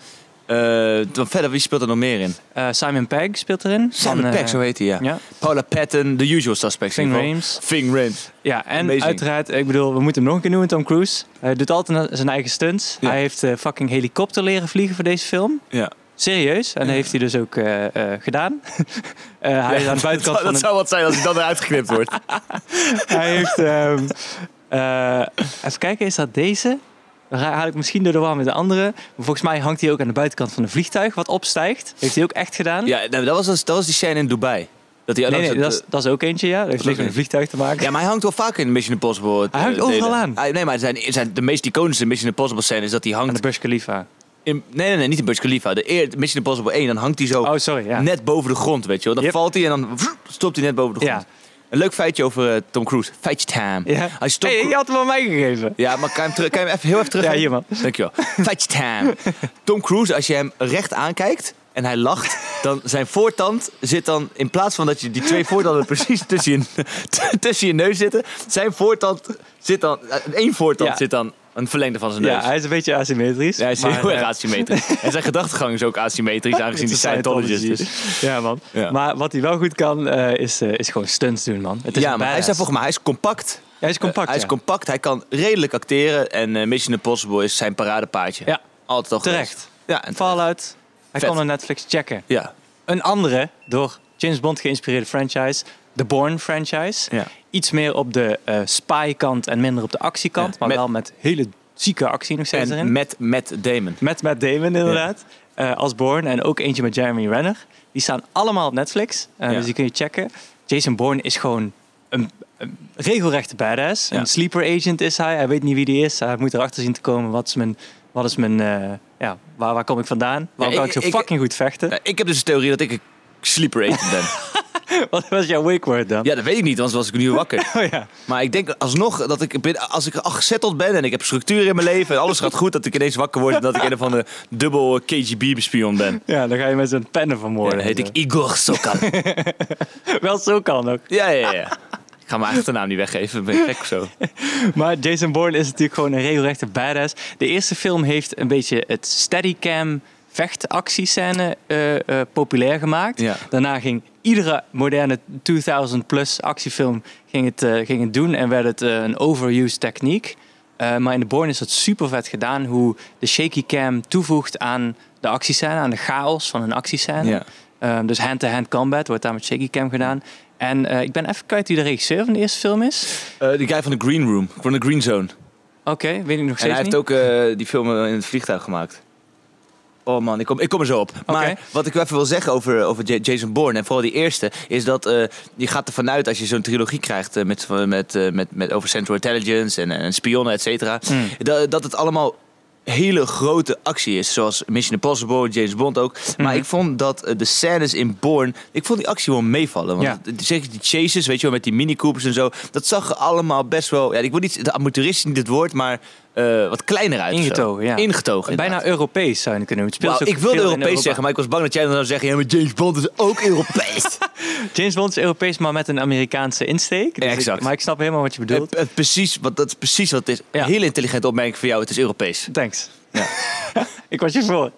Speaker 1: Eh, dan verder, wie speelt er nog meer in?
Speaker 2: Eh, Simon Pegg speelt erin.
Speaker 1: Simon
Speaker 2: Van, eh,
Speaker 1: Peck, zo heet hij, ja.
Speaker 2: ja.
Speaker 1: Paula Patton, The Usual Suspects. in
Speaker 2: Ving
Speaker 1: ieder geval.
Speaker 2: Rhames.
Speaker 1: Ving Rhames.
Speaker 2: Ja, en
Speaker 1: Amazing.
Speaker 2: uiteraard, ik bedoel, we moeten hem nog een keer noemen, Tom Cruise. Hij doet altijd zijn eigen stunts.
Speaker 1: Ja.
Speaker 2: Hij heeft eh, fucking helikopter leren vliegen voor deze film.
Speaker 1: Ja.
Speaker 2: Serieus. En dat heeft hij dus ook eh, eh, gedaan. (laughs) Eh, hij is aan de
Speaker 1: (laughs) Dat,
Speaker 2: buitenkant
Speaker 1: zou-
Speaker 2: van
Speaker 1: dat
Speaker 2: een-
Speaker 1: zou wat zijn als hij dan eruit geknipt
Speaker 2: (laughs)
Speaker 1: wordt.
Speaker 2: Hij heeft... ehm, eh, even kijken, is dat deze? Dan ra- haal ik misschien door de war met de andere. Maar volgens mij hangt hij ook aan de buitenkant van een vliegtuig wat opstijgt. Heeft hij ook echt gedaan?
Speaker 1: ja, nou, dat, was, dat was die scène in Dubai. Dat hij
Speaker 2: nee,
Speaker 1: langs
Speaker 2: nee,
Speaker 1: het, eh,
Speaker 2: dat, is, dat is ook eentje, ja. Dat heeft
Speaker 1: is
Speaker 2: niks
Speaker 1: ook
Speaker 2: met een vliegtuig te maken.
Speaker 1: Ja, maar hij hangt wel vaak in Mission Impossible. eh,
Speaker 2: Hij hangt
Speaker 1: delen.
Speaker 2: overal aan.
Speaker 1: Hij- nee, maar zijn, zijn, de meest iconische Mission Impossible scène is dat hij
Speaker 2: Aan de
Speaker 1: hangt...
Speaker 2: Burj Khalifa.
Speaker 1: In, nee, nee, nee, niet in Burj Khalifa. De eer, Mission Impossible 1, dan hangt hij zo
Speaker 2: Oh, sorry, ja.
Speaker 1: net boven de grond, weet je wel. Dan
Speaker 2: Yep.
Speaker 1: valt hij en dan vroep, stopt hij net boven de grond.
Speaker 2: Ja.
Speaker 1: Een leuk feitje over eh, Tom Cruise. Feitje time.
Speaker 2: Ja.
Speaker 1: Als je Tom
Speaker 2: Hey,
Speaker 1: Cru-
Speaker 2: je had hem aan mij gegeven.
Speaker 1: Ja, maar kan je hem, terug, kan je hem even, heel even terug?
Speaker 2: Ja, hier, man.
Speaker 1: Dankjewel. Fetch
Speaker 2: (laughs)
Speaker 1: time. Tom Cruise, als je hem recht aankijkt en hij lacht, dan zijn voortand zit dan, in plaats van dat je die twee voortanden (laughs) precies tussen je, tussen je neus zitten, zijn voortand zit dan, eh, één voortand
Speaker 2: Ja.
Speaker 1: zit dan een verlengde van zijn neus.
Speaker 2: Ja, hij is een beetje asymmetrisch.
Speaker 1: Ja, hij is
Speaker 2: maar,
Speaker 1: heel erg
Speaker 2: eh, (laughs)
Speaker 1: asymmetrisch. En zijn gedachtegang is ook asymmetrisch, aangezien hij
Speaker 2: het is
Speaker 1: Scientologist
Speaker 2: Scientology.
Speaker 1: is.
Speaker 2: Ja, man.
Speaker 1: Ja.
Speaker 2: Maar wat hij wel goed kan, eh, is, eh, is gewoon stunts doen, man. Het is
Speaker 1: Ja,
Speaker 2: een
Speaker 1: maar hij is,
Speaker 2: badass.
Speaker 1: volgens mij hij is compact.
Speaker 2: Hij is compact,
Speaker 1: Eh, hij
Speaker 2: ja.
Speaker 1: is compact, hij kan redelijk acteren. En eh, Mission Impossible is zijn paradepaardje.
Speaker 2: Ja.
Speaker 1: Altijd al geweest.
Speaker 2: Terecht.
Speaker 1: Ja, en
Speaker 2: Fallout. Hij
Speaker 1: Vet.
Speaker 2: kan naar Netflix checken.
Speaker 1: Ja.
Speaker 2: Een andere, door James Bond geïnspireerde franchise, de Bourne franchise.
Speaker 1: Ja.
Speaker 2: Iets meer op de eh, spy-kant en minder op de actiekant,
Speaker 1: Ja,
Speaker 2: maar
Speaker 1: met-
Speaker 2: wel met hele zieke actie nog steeds erin.
Speaker 1: En met Matt Damon.
Speaker 2: Met Matt Damon inderdaad. eh, als Bourne en ook eentje met Jeremy Renner. Die staan allemaal op Netflix. eh,
Speaker 1: Ja.
Speaker 2: Dus die kun je checken. Jason Bourne is gewoon een, een regelrechte badass.
Speaker 1: Ja.
Speaker 2: Een sleeper agent is hij. Hij weet niet wie die is. Hij moet erachter zien te komen. Wat is mijn... Wat is mijn eh, ja, waar, waar kom ik vandaan? Waarom
Speaker 1: Ja,
Speaker 2: kan ik,
Speaker 1: ik-
Speaker 2: zo
Speaker 1: ik-
Speaker 2: fucking goed vechten?
Speaker 1: Ja, ik heb dus de theorie dat ik een sleeper agent ben.
Speaker 2: (laughs) Wat was jouw wake word dan?
Speaker 1: ja, dat weet ik niet, anders was ik nu wakker.
Speaker 2: Oh ja.
Speaker 1: Maar ik denk alsnog dat ik, binnen- als ik al gezetteld ben en ik heb structuur in mijn leven en alles gaat goed, dat ik ineens wakker word en dat ik een van de dubbel KGB-spion ben.
Speaker 2: ja, dan ga je met zo'n pennen
Speaker 1: Ja,
Speaker 2: vermoorden.
Speaker 1: dan heet ik Igor Sokal.
Speaker 2: (laughs) Wel zo kan ook.
Speaker 1: Ja, ja, ja.
Speaker 2: (laughs)
Speaker 1: Ik ga mijn achternaam niet weggeven, ben ik gek of zo.
Speaker 2: Maar Jason Bourne is natuurlijk gewoon een regelrechte badass. De eerste film heeft een beetje het steadicam vechtactiescène eh eh, populair gemaakt.
Speaker 1: Ja.
Speaker 2: Daarna ging iedere moderne 2000 plus actiefilm ging het, eh, ging het doen en werd het eh, een overused techniek. Eh, maar in de Bourne is dat super vet gedaan hoe de shaky cam toevoegt aan de actiescène, aan de chaos van een actiescène.
Speaker 1: Ja.
Speaker 2: Eh, dus hand-to-hand combat wordt daar met shaky cam gedaan. En eh, ik ben even kwijt wie de regisseur van de eerste film is.
Speaker 1: Eh die guy van de Green Room, van de Green Zone.
Speaker 2: Oké, weet ik nog steeds
Speaker 1: En hij
Speaker 2: niet.
Speaker 1: heeft ook eh, die film eh, in het vliegtuig gemaakt. Oh man, ik kom, ik kom er zo op. Maar wat ik wel even wil zeggen over, over J- Jason Bourne, en vooral die eerste, is dat eh, je gaat ervan uit als je zo'n trilogie krijgt eh, met, met, eh, met, met, over Central Intelligence en, en spionnen, et cetera,
Speaker 2: Hmm.
Speaker 1: dat, dat het allemaal hele grote actie is. Zoals Mission Impossible, James Bond ook.
Speaker 2: Hmm.
Speaker 1: Maar ik vond dat eh, de scènes in Bourne, ik vond die actie wel meevallen. Want
Speaker 2: Ja.
Speaker 1: het- zeker die chases, weet je wel, met die mini-coopers en zo, dat zag er allemaal best wel, ja, ik wil niet, de amateurist is niet het woord, maar eh, wat kleiner uit. of zo.
Speaker 2: Ingetogen, ja.
Speaker 1: Ingetogen, inderdaad.
Speaker 2: Bijna Europees zou je het kunnen noemen. Het speelt
Speaker 1: Wauw,
Speaker 2: zich
Speaker 1: ik wilde
Speaker 2: veel in
Speaker 1: Europees
Speaker 2: Europa.
Speaker 1: zeggen, maar ik was bang dat jij dan zou zeggen... ja, maar James Bond is ook
Speaker 2: (laughs)
Speaker 1: Europees.
Speaker 2: James Bond is Europees, maar met een Amerikaanse insteek. Dus ik-
Speaker 1: Exact.
Speaker 2: maar ik snap helemaal wat je
Speaker 1: Eh,
Speaker 2: bedoelt.
Speaker 1: eh, precies, wat, dat is precies wat het is.
Speaker 2: Ja.
Speaker 1: Heel intelligente opmerking voor jou, het is Europees.
Speaker 2: Thanks. (laughs) ik was
Speaker 1: (laughs)
Speaker 2: je voor.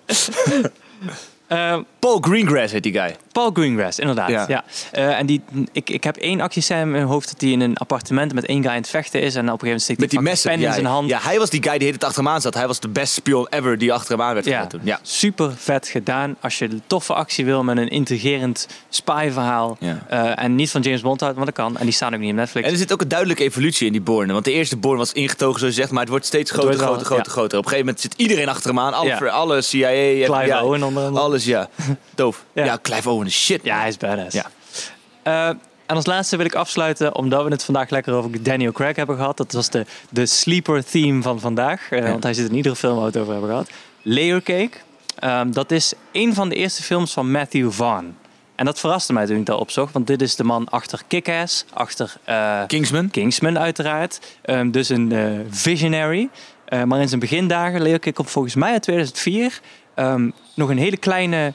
Speaker 2: Eh,
Speaker 1: Paul Greengrass heet die guy.
Speaker 2: Paul Greengrass, inderdaad. Ja.
Speaker 1: Ja.
Speaker 2: Eh, en die, ik, ik heb één actiescène in mijn hoofd dat hij in een appartement met één guy aan het vechten is. En op een gegeven moment steekt
Speaker 1: Met die
Speaker 2: fucking
Speaker 1: messen.
Speaker 2: pen in
Speaker 1: Ja,
Speaker 2: zijn hand.
Speaker 1: ja, hij was die guy die de hele tijd achter hem aan zat. Hij was de beste spion ever die achter hem aan werd
Speaker 2: Ja,
Speaker 1: gezet toen. Ja.
Speaker 2: super vet gedaan. Als je een toffe actie wil met een intrigerend spy-verhaal.
Speaker 1: Ja.
Speaker 2: eh, en niet van James Bond houdt, want dat kan. En die staan ook niet op Netflix.
Speaker 1: En er zit ook een duidelijke evolutie in die Borne. Want de eerste Borne was ingetogen, zoals je zegt, maar het wordt steeds groter,
Speaker 2: wordt wel-
Speaker 1: groter, groter,
Speaker 2: ja.
Speaker 1: groter. Op een gegeven moment zit iedereen achter hem aan. Alle,
Speaker 2: Ja.
Speaker 1: ver- alle CIA, FBI,
Speaker 2: Owen onder andere.
Speaker 1: alles,
Speaker 2: (laughs)
Speaker 1: ja. Doof.
Speaker 2: Ja.
Speaker 1: Ja. Clive Owen is shit.
Speaker 2: Ja,
Speaker 1: man.
Speaker 2: hij is badass.
Speaker 1: Ja.
Speaker 2: Eh, en als laatste wil ik afsluiten, omdat we het vandaag lekker over Daniel Craig hebben gehad. Dat was de, de sleeper theme van vandaag. eh, Want hij zit in iedere film waar we het over hebben gehad. Layer Cake. Ehm, dat is een van de eerste films van Matthew Vaughn. En dat verraste mij toen ik dat opzocht. Want dit is de man achter Kick-Ass, achter eh,
Speaker 1: Kingsman.
Speaker 2: Kingsman uiteraard. Ehm, dus een eh, visionary. Eh, maar in zijn begindagen, Leo Kick op volgens mij uit 2004, ehm, nog een hele kleine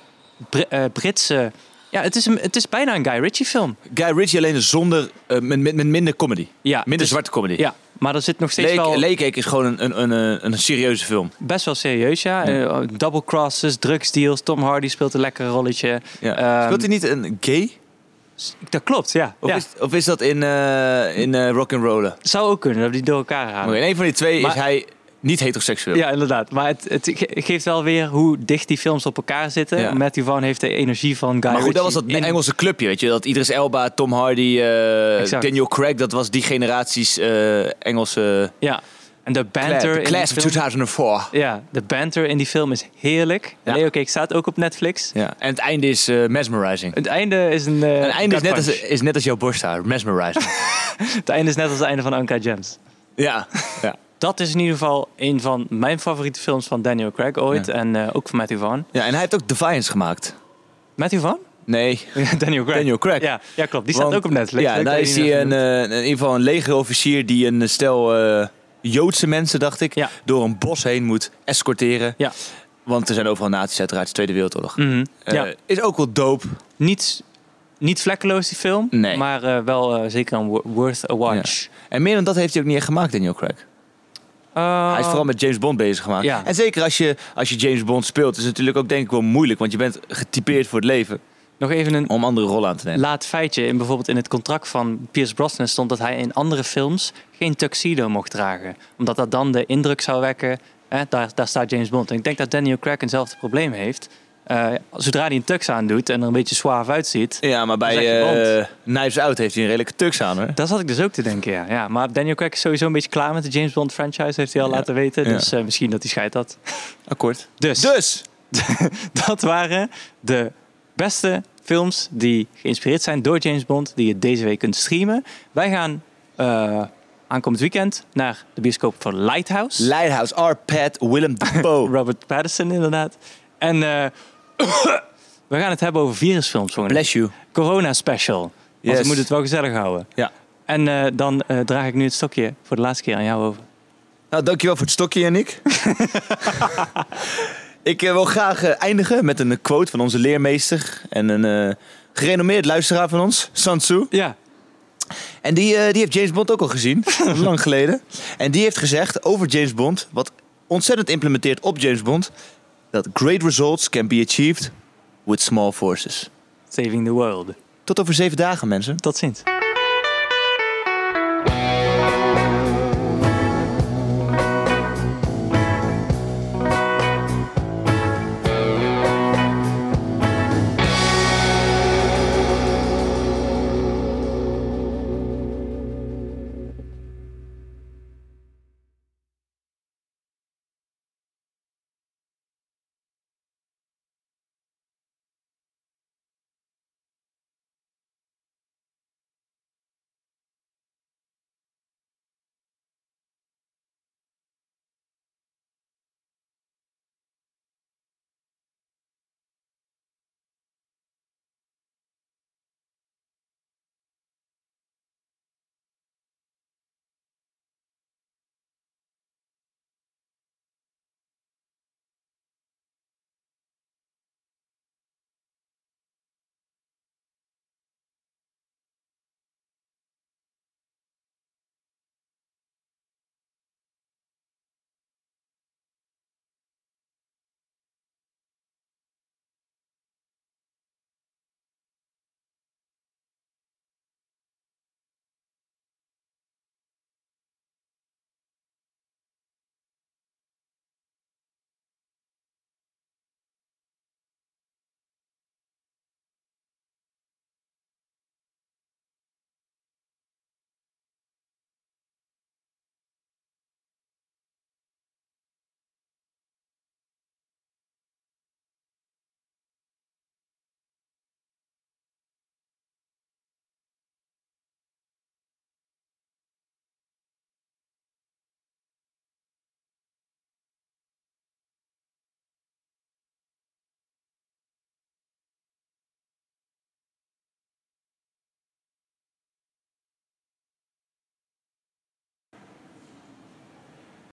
Speaker 2: Br- eh, Britse... Ja, het is, een, het is bijna een Guy Ritchie film.
Speaker 1: Guy Ritchie alleen zonder, eh, met, met, met minder comedy.
Speaker 2: Ja,
Speaker 1: minder
Speaker 2: dus-
Speaker 1: zwarte comedy.
Speaker 2: Ja, maar er zit nog steeds
Speaker 1: Lake,
Speaker 2: wel
Speaker 1: Lake Cake is gewoon een, een, een, eh, een serieuze film.
Speaker 2: best wel serieus, ja. Eh, double crosses, drugsdeals, Tom Hardy speelt een lekker rolletje.
Speaker 1: Ja.
Speaker 2: Ehm,
Speaker 1: Speelt hij niet een gay?
Speaker 2: Dat klopt, ja.
Speaker 1: Of,
Speaker 2: ja.
Speaker 1: Is, of is dat in, eh in eh Rock'n'Roller?
Speaker 2: Zou ook kunnen, dat we die door elkaar halen.
Speaker 1: Maar in een van die twee
Speaker 2: Ah. Maar-
Speaker 1: is hij niet heteroseksueel.
Speaker 2: Ja, inderdaad. Maar het, het ge- geeft wel weer hoe dicht die films op elkaar zitten.
Speaker 1: Ja.
Speaker 2: Matthew Vaughn heeft de energie van Guy
Speaker 1: Maar goed, dat was
Speaker 2: Ritchie
Speaker 1: dat
Speaker 2: in-
Speaker 1: Engelse clubje, weet je. Dat Idris Elba, Tom Hardy, eh,
Speaker 2: Exact.
Speaker 1: Daniel Craig, dat was die generaties eh, Engelse...
Speaker 2: Ja, en de banter
Speaker 1: Class,
Speaker 2: in
Speaker 1: the
Speaker 2: die
Speaker 1: class of
Speaker 2: film-
Speaker 1: 2004.
Speaker 2: Ja, de banter in die film is heerlijk.
Speaker 1: Ja.
Speaker 2: Leo Cake staat ook op Netflix.
Speaker 1: Ja. En het einde is eh, mesmerizing.
Speaker 2: Het einde is een... eh,
Speaker 1: Het einde is
Speaker 2: gut
Speaker 1: net, als,
Speaker 2: punch.
Speaker 1: is net als jouw borsthaar,
Speaker 2: (laughs)
Speaker 1: mesmerizing.
Speaker 2: Het einde is net als het einde van Anka Gems.
Speaker 1: ja. ja.
Speaker 2: Dat is in ieder geval een van mijn favoriete films van Daniel Craig ooit. En eh, ook van Matthew Vaughn.
Speaker 1: Ja, en hij heeft ook Defiance gemaakt.
Speaker 2: Matthew Vaughn? (laughs)
Speaker 1: Nee,
Speaker 2: Daniel Craig.
Speaker 1: Daniel Craig.
Speaker 2: Ja, ja klopt. Die staat
Speaker 1: Want-
Speaker 2: ook op Netflix.
Speaker 1: Ja,
Speaker 2: Leuk
Speaker 1: daar
Speaker 2: dat
Speaker 1: is
Speaker 2: je die
Speaker 1: hij
Speaker 2: even
Speaker 1: een,
Speaker 2: noemt.
Speaker 1: eh, in ieder geval een legerofficier die een stel eh, Joodse mensen, dacht ik,
Speaker 2: Ja.
Speaker 1: door een bos heen moet escorteren.
Speaker 2: Ja. Mhm,
Speaker 1: Want er zijn overal naties, uiteraard, Tweede Wereldoorlog. Eh,
Speaker 2: ja.
Speaker 1: Is ook wel dope.
Speaker 2: Niet, niet vlekkeloos die film.
Speaker 1: Nee.
Speaker 2: Maar eh, wel eh, zeker een wo- worth a watch.
Speaker 1: En meer dan dat heeft hij ook niet echt gemaakt, Daniel Craig.
Speaker 2: Eh,
Speaker 1: Hij is vooral met James Bond bezig gemaakt.
Speaker 2: Ah. Ja.
Speaker 1: En zeker als je, als je James Bond speelt, is het natuurlijk ook denk ik wel moeilijk. Want je bent getypeerd voor het leven
Speaker 2: Nog even een
Speaker 1: om andere rollen aan te nemen.
Speaker 2: laat feitje. In, bijvoorbeeld in het contract van Pierce Brosnan stond dat hij in andere films geen tuxedo mocht dragen. Omdat dat dan de indruk zou wekken, hè, daar, daar staat James Bond. En ik denk dat Daniel Craig eenzelfde probleem heeft. Eh, zodra hij een tux aandoet en er een beetje suave uitziet...
Speaker 1: ja, maar bij
Speaker 2: Dan zeg je
Speaker 1: eh, Knives Out heeft hij een redelijke tux aan hoor.
Speaker 2: Daar zat ik dus ook te denken, ja. ja. Maar Daniel Craig is sowieso een beetje klaar met de James Bond franchise, heeft hij al laten weten.
Speaker 1: Ja. Dus.
Speaker 2: Dus eh, Dus. misschien dat hij scheidt dat.
Speaker 1: Akkoord.
Speaker 2: (laughs) Dus,
Speaker 1: Dus,
Speaker 2: dat waren de beste films die geïnspireerd zijn door James Bond, die je deze week kunt streamen. Wij gaan eh, aankomend weekend naar de bioscoop van Lighthouse.
Speaker 1: Lighthouse, Arpad, Willem (laughs) Dafoe.
Speaker 2: Robert Pattinson inderdaad. En eh, (coughs) we gaan het hebben over virusfilms. volgende
Speaker 1: Bless you.
Speaker 2: week. Corona special. Want
Speaker 1: Yes.
Speaker 2: we moeten het wel gezellig houden.
Speaker 1: Ja.
Speaker 2: En eh, dan eh, draag ik nu het stokje voor de laatste keer aan jou over.
Speaker 1: Nou, dankjewel voor het stokje, Nick. (laughs) ik eh, wil graag eh, eindigen met een quote van onze leermeester en een eh, gerenommeerd luisteraar van ons, Sansu.
Speaker 2: Ja,
Speaker 1: En die, eh, die heeft James Bond ook al gezien, (laughs) lang geleden. En die heeft gezegd over James Bond, wat ontzettend implementeert op James Bond, dat great results can be achieved with small forces.
Speaker 2: Saving the World.
Speaker 1: Tot over zeven dagen, mensen.
Speaker 2: Tot ziens.